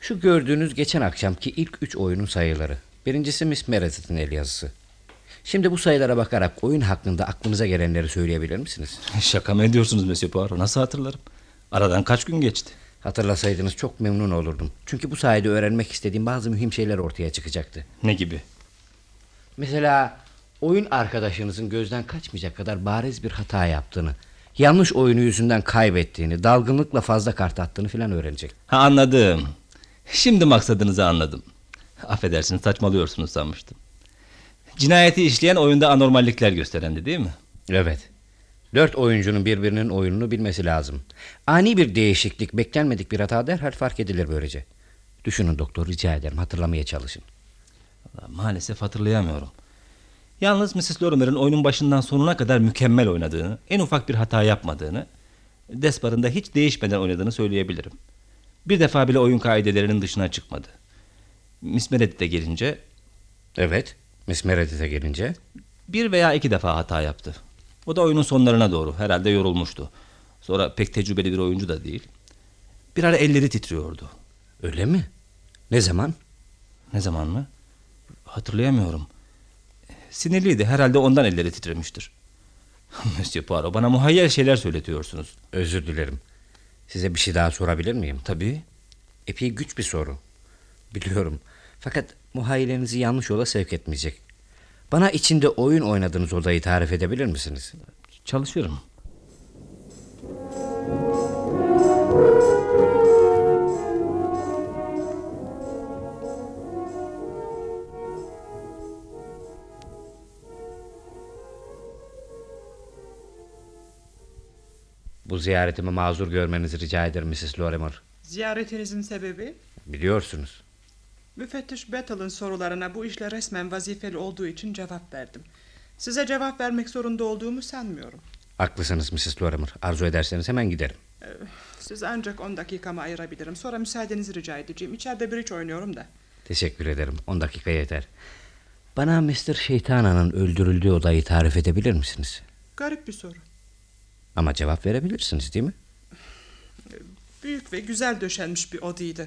Şu gördüğünüz geçen akşamki ilk üç oyunun sayıları. Birincisi Miss Meredith'in el yazısı. Şimdi bu sayılara bakarak oyun hakkında aklınıza gelenleri söyleyebilir misiniz?
Şaka mı ediyorsunuz Monsieur Poirot? Nasıl hatırlarım? Aradan kaç gün geçti?
Hatırlasaydınız çok memnun olurdum. Çünkü bu sayede öğrenmek istediğim bazı mühim şeyler ortaya çıkacaktı.
Ne gibi?
Mesela oyun arkadaşınızın gözden kaçmayacak kadar bariz bir hata yaptığını, yanlış oyunu yüzünden kaybettiğini, dalgınlıkla fazla kart attığını filan öğrenecek.
Ha anladım. Şimdi maksadınızı anladım. Affedersiniz saçmalıyorsunuz sanmıştım. Cinayeti işleyen oyunda anormallikler gösterendi değil mi?
Evet. Dört oyuncunun birbirinin oyununu bilmesi lazım. Ani bir değişiklik, beklenmedik bir hata derhal fark edilir böylece. Düşünün doktor rica ederim hatırlamaya çalışın.
Vallahi Maalesef hatırlayamıyorum. Yalnız Mrs. Lorimer'ın oyunun başından sonuna kadar mükemmel oynadığını, en ufak bir hata yapmadığını, Despar'ın da hiç değişmeden oynadığını söyleyebilirim. Bir defa bile oyun kaidelerinin dışına çıkmadı. Miss Meredith'e gelince
Evet. Miss Meredith'e gelince.
bir veya iki defa hata yaptı. O da oyunun sonlarına doğru herhalde yorulmuştu. Sonra pek tecrübeli bir oyuncu da değil. Bir ara elleri titriyordu.
Öyle mi? Ne zaman?
Ne zaman mı? Hatırlayamıyorum. Ee, Sinirliydi. Herhalde ondan elleri titremiştir. Monsieur Poirot bana muhayyer şeyler söyletiyorsunuz.
Özür dilerim. Size bir şey daha sorabilir miyim?
Tabii.
Epey güç bir soru. Biliyorum. Fakat muhayyilenizi yanlış yola sevk etmeyecek. Bana içinde oyun oynadığınız odayı tarif edebilir misiniz?
Çalışıyorum.
Bu ziyaretimi mazur görmenizi rica ederim Mrs. Lorimer.
Ziyaretinizin sebebi?
Biliyorsunuz.
Müfettiş Battle'ın sorularına bu işle resmen vazifeli olduğu için cevap verdim. Size cevap vermek zorunda olduğumu sanmıyorum.
Haklısınız Mrs. Lorimer. Arzu ederseniz hemen giderim.
Ee, Siz ancak 10 dakikamı ayırabilirim. Sonra müsaadenizi rica edeceğim. İçeride bridge oynuyorum da.
Teşekkür ederim. 10 dakika yeter. Bana Mr. Şeytana'nın öldürüldüğü odayı tarif edebilir misiniz?
Garip bir soru.
Ama cevap verebilirsiniz değil mi?
Büyük ve güzel döşenmiş bir odaydı.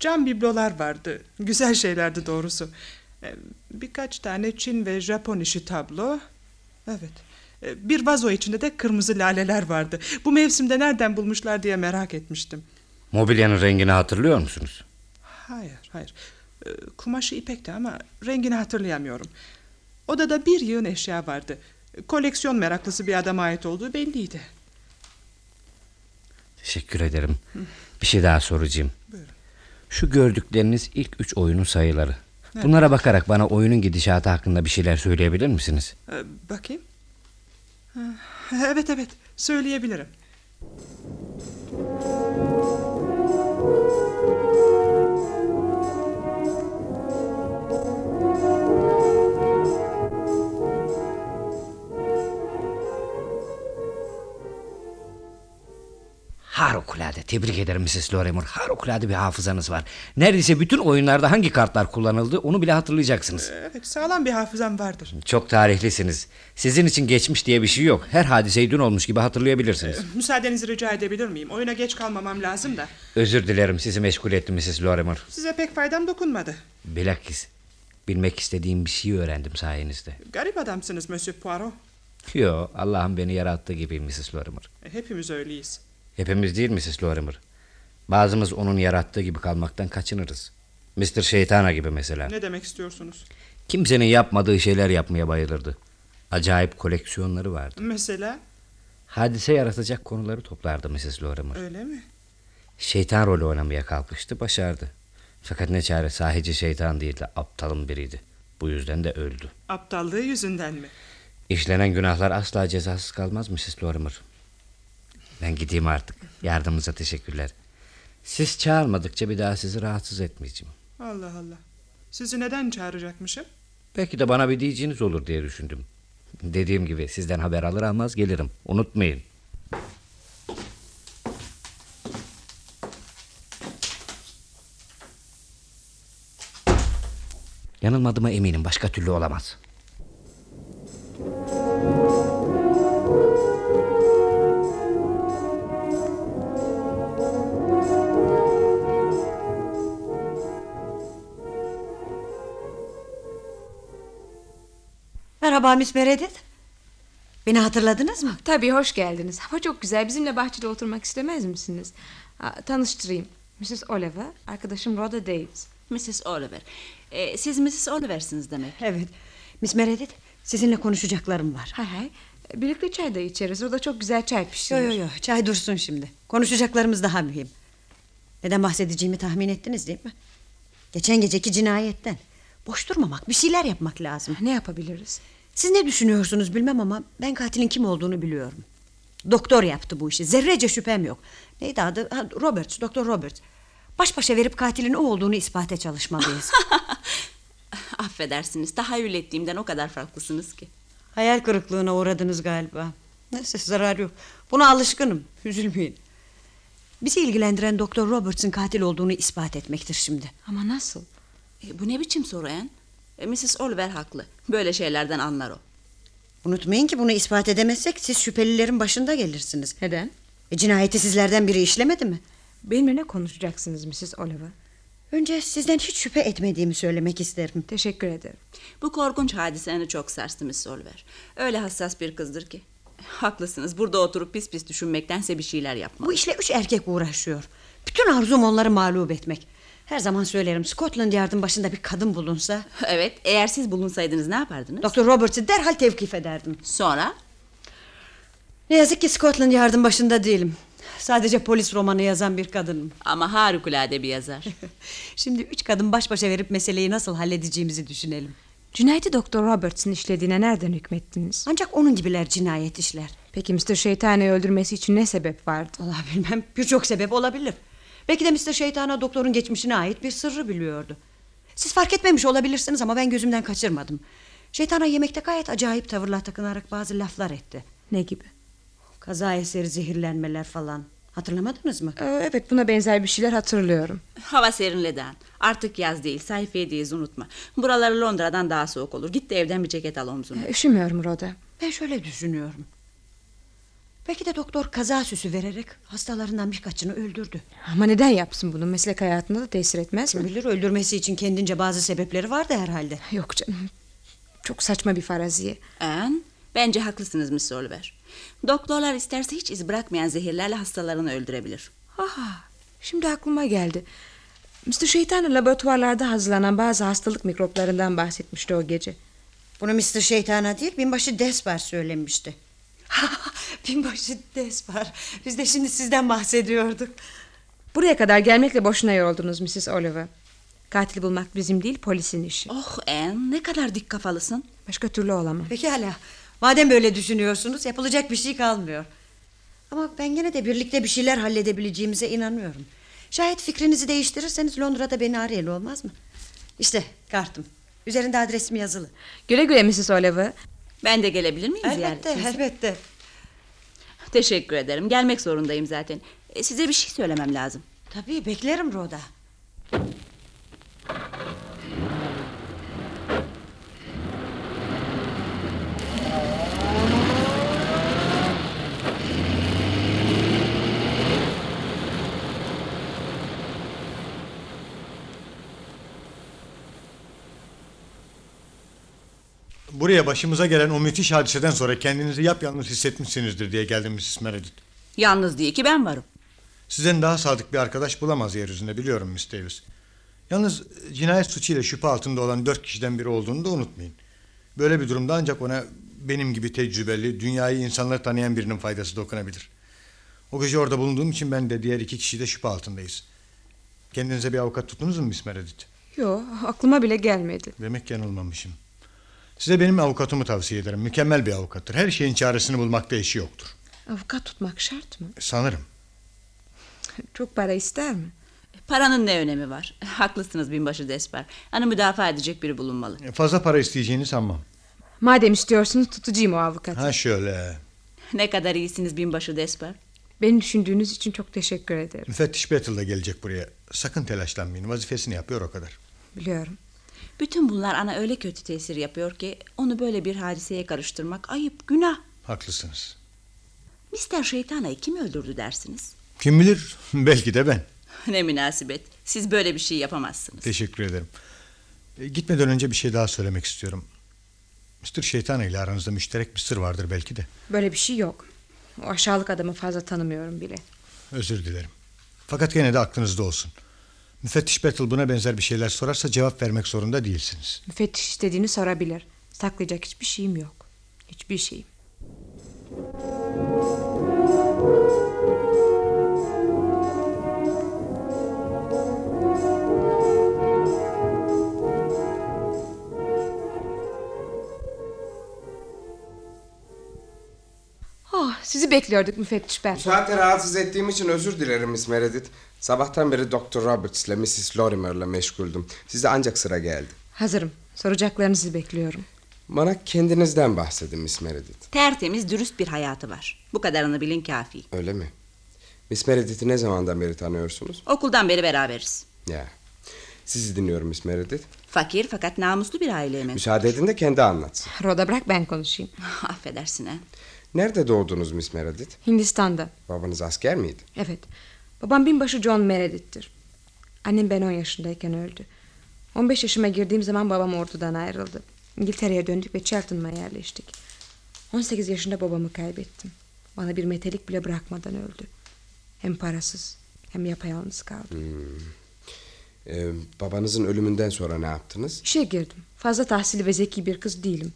Cam biblolar vardı. Güzel şeylerdi doğrusu. Ee, Birkaç tane Çin ve Japon işi tablo. Evet. Ee, Bir vazo içinde de kırmızı laleler vardı. Bu mevsimde nereden bulmuşlar diye merak etmiştim.
Mobilyanın rengini hatırlıyor musunuz?
Hayır, hayır. Ee, Kumaşı ipekti ama rengini hatırlayamıyorum. Odada bir yığın eşya vardı. Koleksiyon meraklısı bir adama ait olduğu belliydi.
Teşekkür ederim. Bir şey daha soracağım. Şu gördükleriniz ilk üç oyunun sayıları. Bunlara bakarak bana oyunun gidişatı hakkında bir şeyler söyleyebilir misiniz?
Ee, bakayım. Ha, Evet evet söyleyebilirim.
Harikulade tebrik ederim Mrs. Lorimer. Harikulade bir hafızanız var. Neredeyse bütün oyunlarda hangi kartlar kullanıldı onu bile hatırlayacaksınız.
Evet sağlam bir hafızam vardır.
Çok tarihlisiniz. Sizin için geçmiş diye bir şey yok. Her hadiseyi dün olmuş gibi hatırlayabilirsiniz.
Ee, Müsaadenizi rica edebilir miyim? Oyuna geç kalmamam lazım da.
Özür dilerim sizi meşgul ettim Mrs. Lorimer.
Size pek faydam dokunmadı.
Bilakis bilmek istediğim bir şeyi öğrendim sayenizde.
Garip adamsınız Monsieur Poirot.
Yo Allah'ın beni yarattığı gibi Mrs. Lorimer.
E, Hepimiz öyleyiz.
Hepimiz değil Mrs. Lorimer. Bazımız onun yarattığı gibi kalmaktan kaçınırız. Mr. Şeytana gibi mesela.
Ne demek istiyorsunuz?
Kimsenin yapmadığı şeyler yapmaya bayılırdı. Acayip koleksiyonları vardı.
Mesela
Hadise yaratacak konuları toplardı Mrs. Lorimer.
öyle mi?
Şeytan rolü oynamaya kalkıştı, başardı. Fakat ne çare sahici şeytan değildi, aptalın biriydi. Bu yüzden de öldü.
Aptallığı yüzünden mi?
İşlenen günahlar asla cezasız kalmaz Mrs. Lorimer. Ben gideyim artık. Yardımınıza teşekkürler. Siz çağırmadıkça bir daha sizi rahatsız etmeyeceğim.
Allah Allah. Sizi neden çağıracakmışım?
Belki de bana bir diyeceğiniz olur diye düşündüm. Dediğim gibi sizden haber alır almaz gelirim. Unutmayın. Yanılmadığıma eminim. Başka türlü olamaz.
Merhaba Miss Meredith. Beni hatırladınız mı?
Tabii hoş geldiniz. Hava çok güzel. Bizimle bahçede oturmak istemez misiniz? Aa, tanıştırayım. Mrs. Oliver, arkadaşım Rhoda Davis.
Mrs. Oliver. Ee, siz Mrs. Oliver'siniz demek.
Evet. Miss Meredith sizinle konuşacaklarım var.
Hay hay. Birlikte çay da içeriz. Rhoda çok güzel çay pişirir.
Yo yo yo çay dursun şimdi. Konuşacaklarımız daha mühim. Neden bahsedeceğimi tahmin ettiniz değil mi? Geçen geceki cinayetten. Boş durmamak bir şeyler yapmak lazım.
Ne yapabiliriz?
Siz ne düşünüyorsunuz bilmem ama ben katilin kim olduğunu biliyorum. Doktor yaptı bu işi. Zerrece şüphem yok. Neydi adı? Ha, Roberts, Doktor Roberts. Baş başa verip katilin o olduğunu ispate çalışmalıyız.
Affedersiniz tahayyül ettiğimden o kadar farklısınız ki.
Hayal kırıklığına uğradınız galiba. Neyse zarar yok. Buna alışkınım. Üzülmeyin. Bizi ilgilendiren Doktor Roberts'ın katil olduğunu ispat etmektir şimdi.
Ama nasıl?
E, bu ne biçim soru Anne? E, Mrs. Oliver haklı. Böyle şeylerden anlar o.
Unutmayın ki bunu ispat edemezsek siz şüphelilerin başında gelirsiniz.
Neden?
E, cinayeti sizlerden biri işlemedi mi?
Benimle ne konuşacaksınız Mrs. Oliver?
Önce sizden hiç şüphe etmediğimi söylemek isterim.
Teşekkür ederim.
Bu korkunç hadiseni çok sarstı Mrs. Oliver. Öyle hassas bir kızdır ki. Haklısınız. Burada oturup pis pis düşünmektense bir şeyler yapma.
Bu işle üç erkek uğraşıyor. Bütün arzum onları mağlup etmek. Her zaman söylerim Scotland Yard'ın başında bir kadın bulunsa...
Evet. Eğer siz bulunsaydınız ne yapardınız?
...Doktor Roberts'ı derhal tevkif ederdim.
Sonra?
Ne yazık ki Scotland Yard'ın başında değilim. Sadece polis romanı yazan bir kadınım.
Ama harikulade bir yazar.
Şimdi üç kadın baş başa verip meseleyi nasıl halledeceğimizi düşünelim.
Cinayeti Doktor Roberts'ın işlediğine nereden hükmettiniz?
Ancak onun gibiler cinayet işler.
Peki Mr. Şeytani öldürmesi için ne sebep vardı?
Vallahi bilmem birçok sebep olabilir. Belki de Mr. Şeytana doktorun geçmişine ait bir sırrı biliyordu. Siz fark etmemiş olabilirsiniz ama ben gözümden kaçırmadım. Şeytana yemekte gayet acayip tavırlar takınarak bazı laflar etti.
Ne gibi?
Kaza eseri zehirlenmeler falan. Hatırlamadınız mı?
Ee, evet buna benzer bir şeyler hatırlıyorum.
Hava serinledi Han. Artık yaz değil, sayfiyedeyiz unutma. Buralar Londra'dan daha soğuk olur. Git de evden bir ceket al omzuna.
Ee, üşümüyorum Rhoda.
E, Ben şöyle düşünüyorum. Belki de doktor kaza süsü vererek hastalarından birkaçını öldürdü.
Ama neden yapsın bunu? Meslek hayatında da tesir etmez
Kim
mi?
bilir öldürmesi için kendince bazı sebepleri vardı herhalde.
Yok canım. Çok saçma bir faraziye.
Anne, bence haklısınız Miss Oliver. Doktorlar isterse hiç iz bırakmayan zehirlerle hastalarını öldürebilir.
Ah, şimdi aklıma geldi. Mr. Şeytan laboratuvarlarda hazırlanan bazı hastalık mikroplarından bahsetmişti o gece.
Bunu Mr. Şeytana değil binbaşı Despar söylemişti. binbaşı Despar. Biz de şimdi sizden bahsediyorduk.
Buraya kadar gelmekle boşuna yoruldunuz Mrs. Oliver. Katili bulmak bizim değil polisin işi.
Oh Anne ne kadar dik kafalısın.
Başka türlü olamam.
Pekala. Madem böyle düşünüyorsunuz yapılacak bir şey kalmıyor. Ama ben gene de birlikte bir şeyler halledebileceğimize inanıyorum. Şayet fikrinizi değiştirirseniz Londra'da beni arayın olmaz mı? İşte kartım. Üzerinde adresim yazılı.
Güle güle Mrs. Oliver.
Ben de gelebilir miyim
Elbette,
ziyaretinize?
elbette.
Teşekkür ederim. Gelmek zorundayım zaten. E, size bir şey söylemem lazım.
Tabii beklerim Roda.
Buraya başımıza gelen o müthiş hadiseden sonra kendinizi yapyalnız hissetmişsinizdir diye geldim Mrs. Meredith.
Yalnız değil ki ben varım.
Sizden daha sadık bir arkadaş bulamaz yeryüzünde biliyorum Miss Davis. Yalnız e, cinayet suçuyla şüphe altında olan dört kişiden biri olduğunu da unutmayın. Böyle bir durumda ancak ona benim gibi tecrübeli, dünyayı insanları tanıyan birinin faydası dokunabilir. O gece orada bulunduğum için ben de diğer iki kişi de şüphe altındayız. Kendinize bir avukat tuttunuz mu Miss Meredith?
Yo aklıma bile gelmedi.
Demek ki yanılmamışım. Size benim avukatımı tavsiye ederim. Mükemmel bir avukattır. Her şeyin çaresini bulmakta işi yoktur. E,
Avukat tutmak şart mı?
Sanırım.
Çok para ister mi?
E, Paranın ne önemi var? Haklısınız binbaşı Desper. Hani müdafaa edecek biri bulunmalı.
E, Fazla para isteyeceğini sanmam.
Madem istiyorsunuz tutucuyum o avukatı.
Ha şöyle.
Ne kadar iyisiniz binbaşı Desper.
Beni düşündüğünüz için çok teşekkür ederim.
Müfettiş Battle da gelecek buraya. Sakın telaşlanmayın. Vazifesini yapıyor o kadar.
Biliyorum.
Bütün bunlar ana öyle kötü tesir yapıyor ki onu böyle bir hadiseye karıştırmak ayıp, günah.
Haklısınız.
Mister Şeytana'yı kim öldürdü dersiniz?
Kim bilir? Belki de ben.
Ne münasebet. Siz böyle bir şey yapamazsınız.
Teşekkür ederim. E, gitmeden önce bir şey daha söylemek istiyorum. Mr. Şeytan ile aranızda müşterek bir sır vardır belki de.
Böyle bir şey yok. O aşağılık adamı fazla tanımıyorum bile.
Özür dilerim. Fakat gene de aklınızda olsun. Müfettiş Battle buna benzer bir şeyler sorarsa cevap vermek zorunda değilsiniz.
Müfettiş istediğini sorabilir. Saklayacak hiçbir şeyim yok. Hiçbir şeyim. Ah, sizi bekliyorduk müfettiş ben.
Bu saatte rahatsız ettiğim için özür dilerim Miss Meredith. Sabahtan beri Dr. Roberts ile Mrs. Lorimer ile meşguldüm. Size ancak sıra geldi.
Hazırım. Soracaklarınızı bekliyorum.
Bana kendinizden bahsedin Miss Meredith.
Tertemiz, dürüst bir hayatı var. Bu kadarını bilin kafi.
Öyle mi? Miss Meredith'i ne zamandan beri tanıyorsunuz?
Okuldan beri beraberiz.
Ya. Sizi dinliyorum Miss Meredith.
Fakir fakat namuslu bir aileye mensup.
Müsaade edin de kendi anlatsın.
Roda bırak ben konuşayım.
Affedersin ha.
Nerede doğdunuz Miss Meredith?
Hindistan'da.
Babanız asker miydi?
Evet. Babam binbaşı John Meredith'tir. Annem ben 10 yaşındayken öldü. 15 yaşıma girdiğim zaman babam ordudan ayrıldı. İngiltere'ye döndük ve Cheltenham'a yerleştik. 18 yaşında babamı kaybettim. Bana bir metelik bile bırakmadan öldü. Hem parasız hem yapayalnız kaldım.
Hmm. Ee, babanızın ölümünden sonra ne yaptınız?
İşe girdim. Fazla tahsili ve zeki bir kız değilim.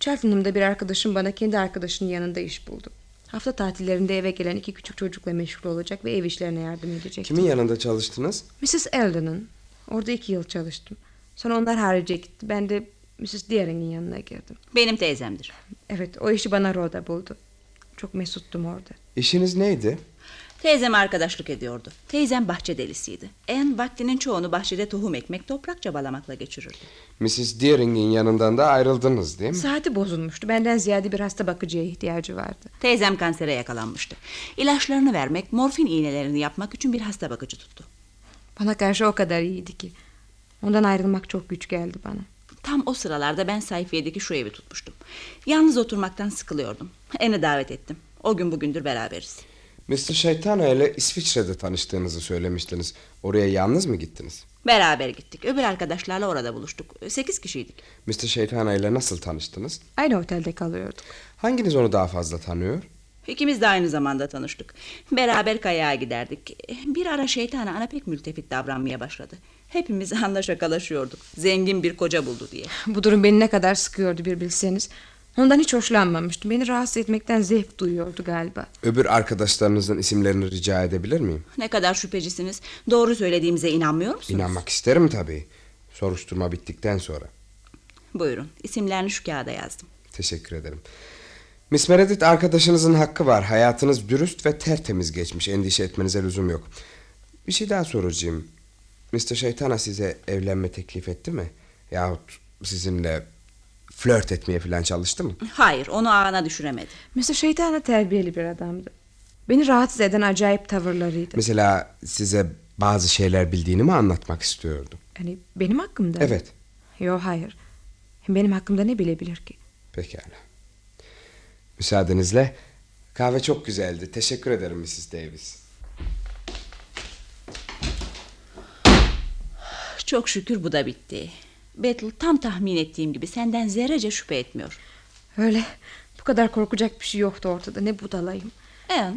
Cheltenham'da bir arkadaşım bana kendi arkadaşının yanında iş buldu. Hafta tatillerinde eve gelen iki küçük çocukla meşgul olacak ve ev işlerine yardım edecek.
Kimin yanında çalıştınız?
Mrs. Eldon'ın. Orada iki yıl çalıştım. Sonra onlar harice gitti. Ben de Mrs. Deering'in yanına girdim.
Benim teyzemdir.
Evet o işi bana Rhoda buldu. Çok mesuttum orada.
İşiniz neydi?
Teyzem arkadaşlık ediyordu. Teyzem bahçe delisiydi. En vaktinin çoğunu bahçede tohum ekmek, toprak çabalamakla geçirirdi.
Mrs. Deering'in yanından da ayrıldınız değil mi?
Saati bozulmuştu. Benden ziyade bir hasta bakıcıya ihtiyacı vardı.
Teyzem kansere yakalanmıştı. İlaçlarını vermek, morfin iğnelerini yapmak için bir hasta bakıcı tuttu.
Bana karşı o kadar iyiydi ki. Ondan ayrılmak çok güç geldi bana.
Tam o sıralarda ben sayfiyedeki şu evi tutmuştum. Yalnız oturmaktan sıkılıyordum. Ene davet ettim. O gün bugündür beraberiz.
Mr. Şeytana ile İsviçre'de tanıştığınızı söylemiştiniz. Oraya yalnız mı gittiniz?
Beraber gittik. Öbür arkadaşlarla orada buluştuk. Sekiz kişiydik.
Mr. Şeytana ile nasıl tanıştınız?
Aynı otelde kalıyorduk.
Hanginiz onu daha fazla tanıyor?
İkimiz de aynı zamanda tanıştık. Beraber kayağa giderdik. Bir ara şeytana ana pek mültefit davranmaya başladı. Hepimiz anla şakalaşıyorduk. Zengin bir koca buldu diye.
Bu durum beni ne kadar sıkıyordu bir bilseniz. Ondan hiç hoşlanmamıştım. Beni rahatsız etmekten zevk duyuyordu galiba.
Öbür arkadaşlarınızın isimlerini rica edebilir miyim?
Ne kadar şüphecisiniz. Doğru söylediğimize inanmıyor musunuz?
İnanmak isterim tabii. Soruşturma bittikten sonra.
Buyurun. İsimlerini şu kağıda yazdım.
Teşekkür ederim. Miss Meredith arkadaşınızın hakkı var. Hayatınız dürüst ve tertemiz geçmiş. Endişe etmenize lüzum yok. Bir şey daha soracağım. Mr. Şeytana size evlenme teklif etti mi? Yahut sizinle flört etmeye falan çalıştı mı?
Hayır onu ağına düşüremedi.
Mr. Şeytana terbiyeli bir adamdı. Beni rahatsız eden acayip tavırlarıydı.
Mesela size bazı şeyler bildiğini mi anlatmak istiyordu?
Hani benim hakkımda mı?
Evet.
Yo hayır. Benim hakkımda ne bilebilir ki?
Pekala. Müsaadenizle kahve çok güzeldi. Teşekkür ederim Mrs. Davis.
Çok şükür bu da bitti. Battle tam tahmin ettiğim gibi senden zerrece şüphe etmiyor.
Öyle. Bu kadar korkacak bir şey yoktu ortada. Ne budalayım.
Anne,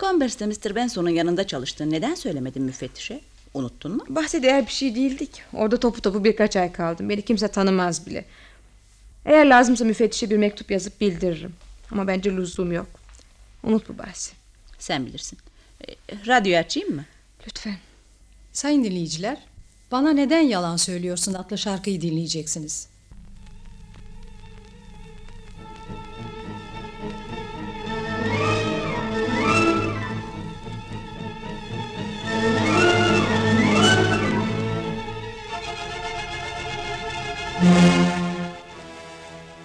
Converse'de Mr. Benson'un yanında çalıştığını neden söylemedin müfettişe? Unuttun mu?
Bahse değer bir şey değildik. Orada topu topu birkaç ay kaldım. Beni kimse tanımaz bile. Eğer lazımsa müfettişe bir mektup yazıp bildiririm. Ama bence lüzum yok. Unut bu bahsi.
Sen bilirsin. E, Radyoyu açayım mı?
Lütfen.
Sayın dinleyiciler, bana neden yalan söylüyorsun adlı şarkıyı dinleyeceksiniz.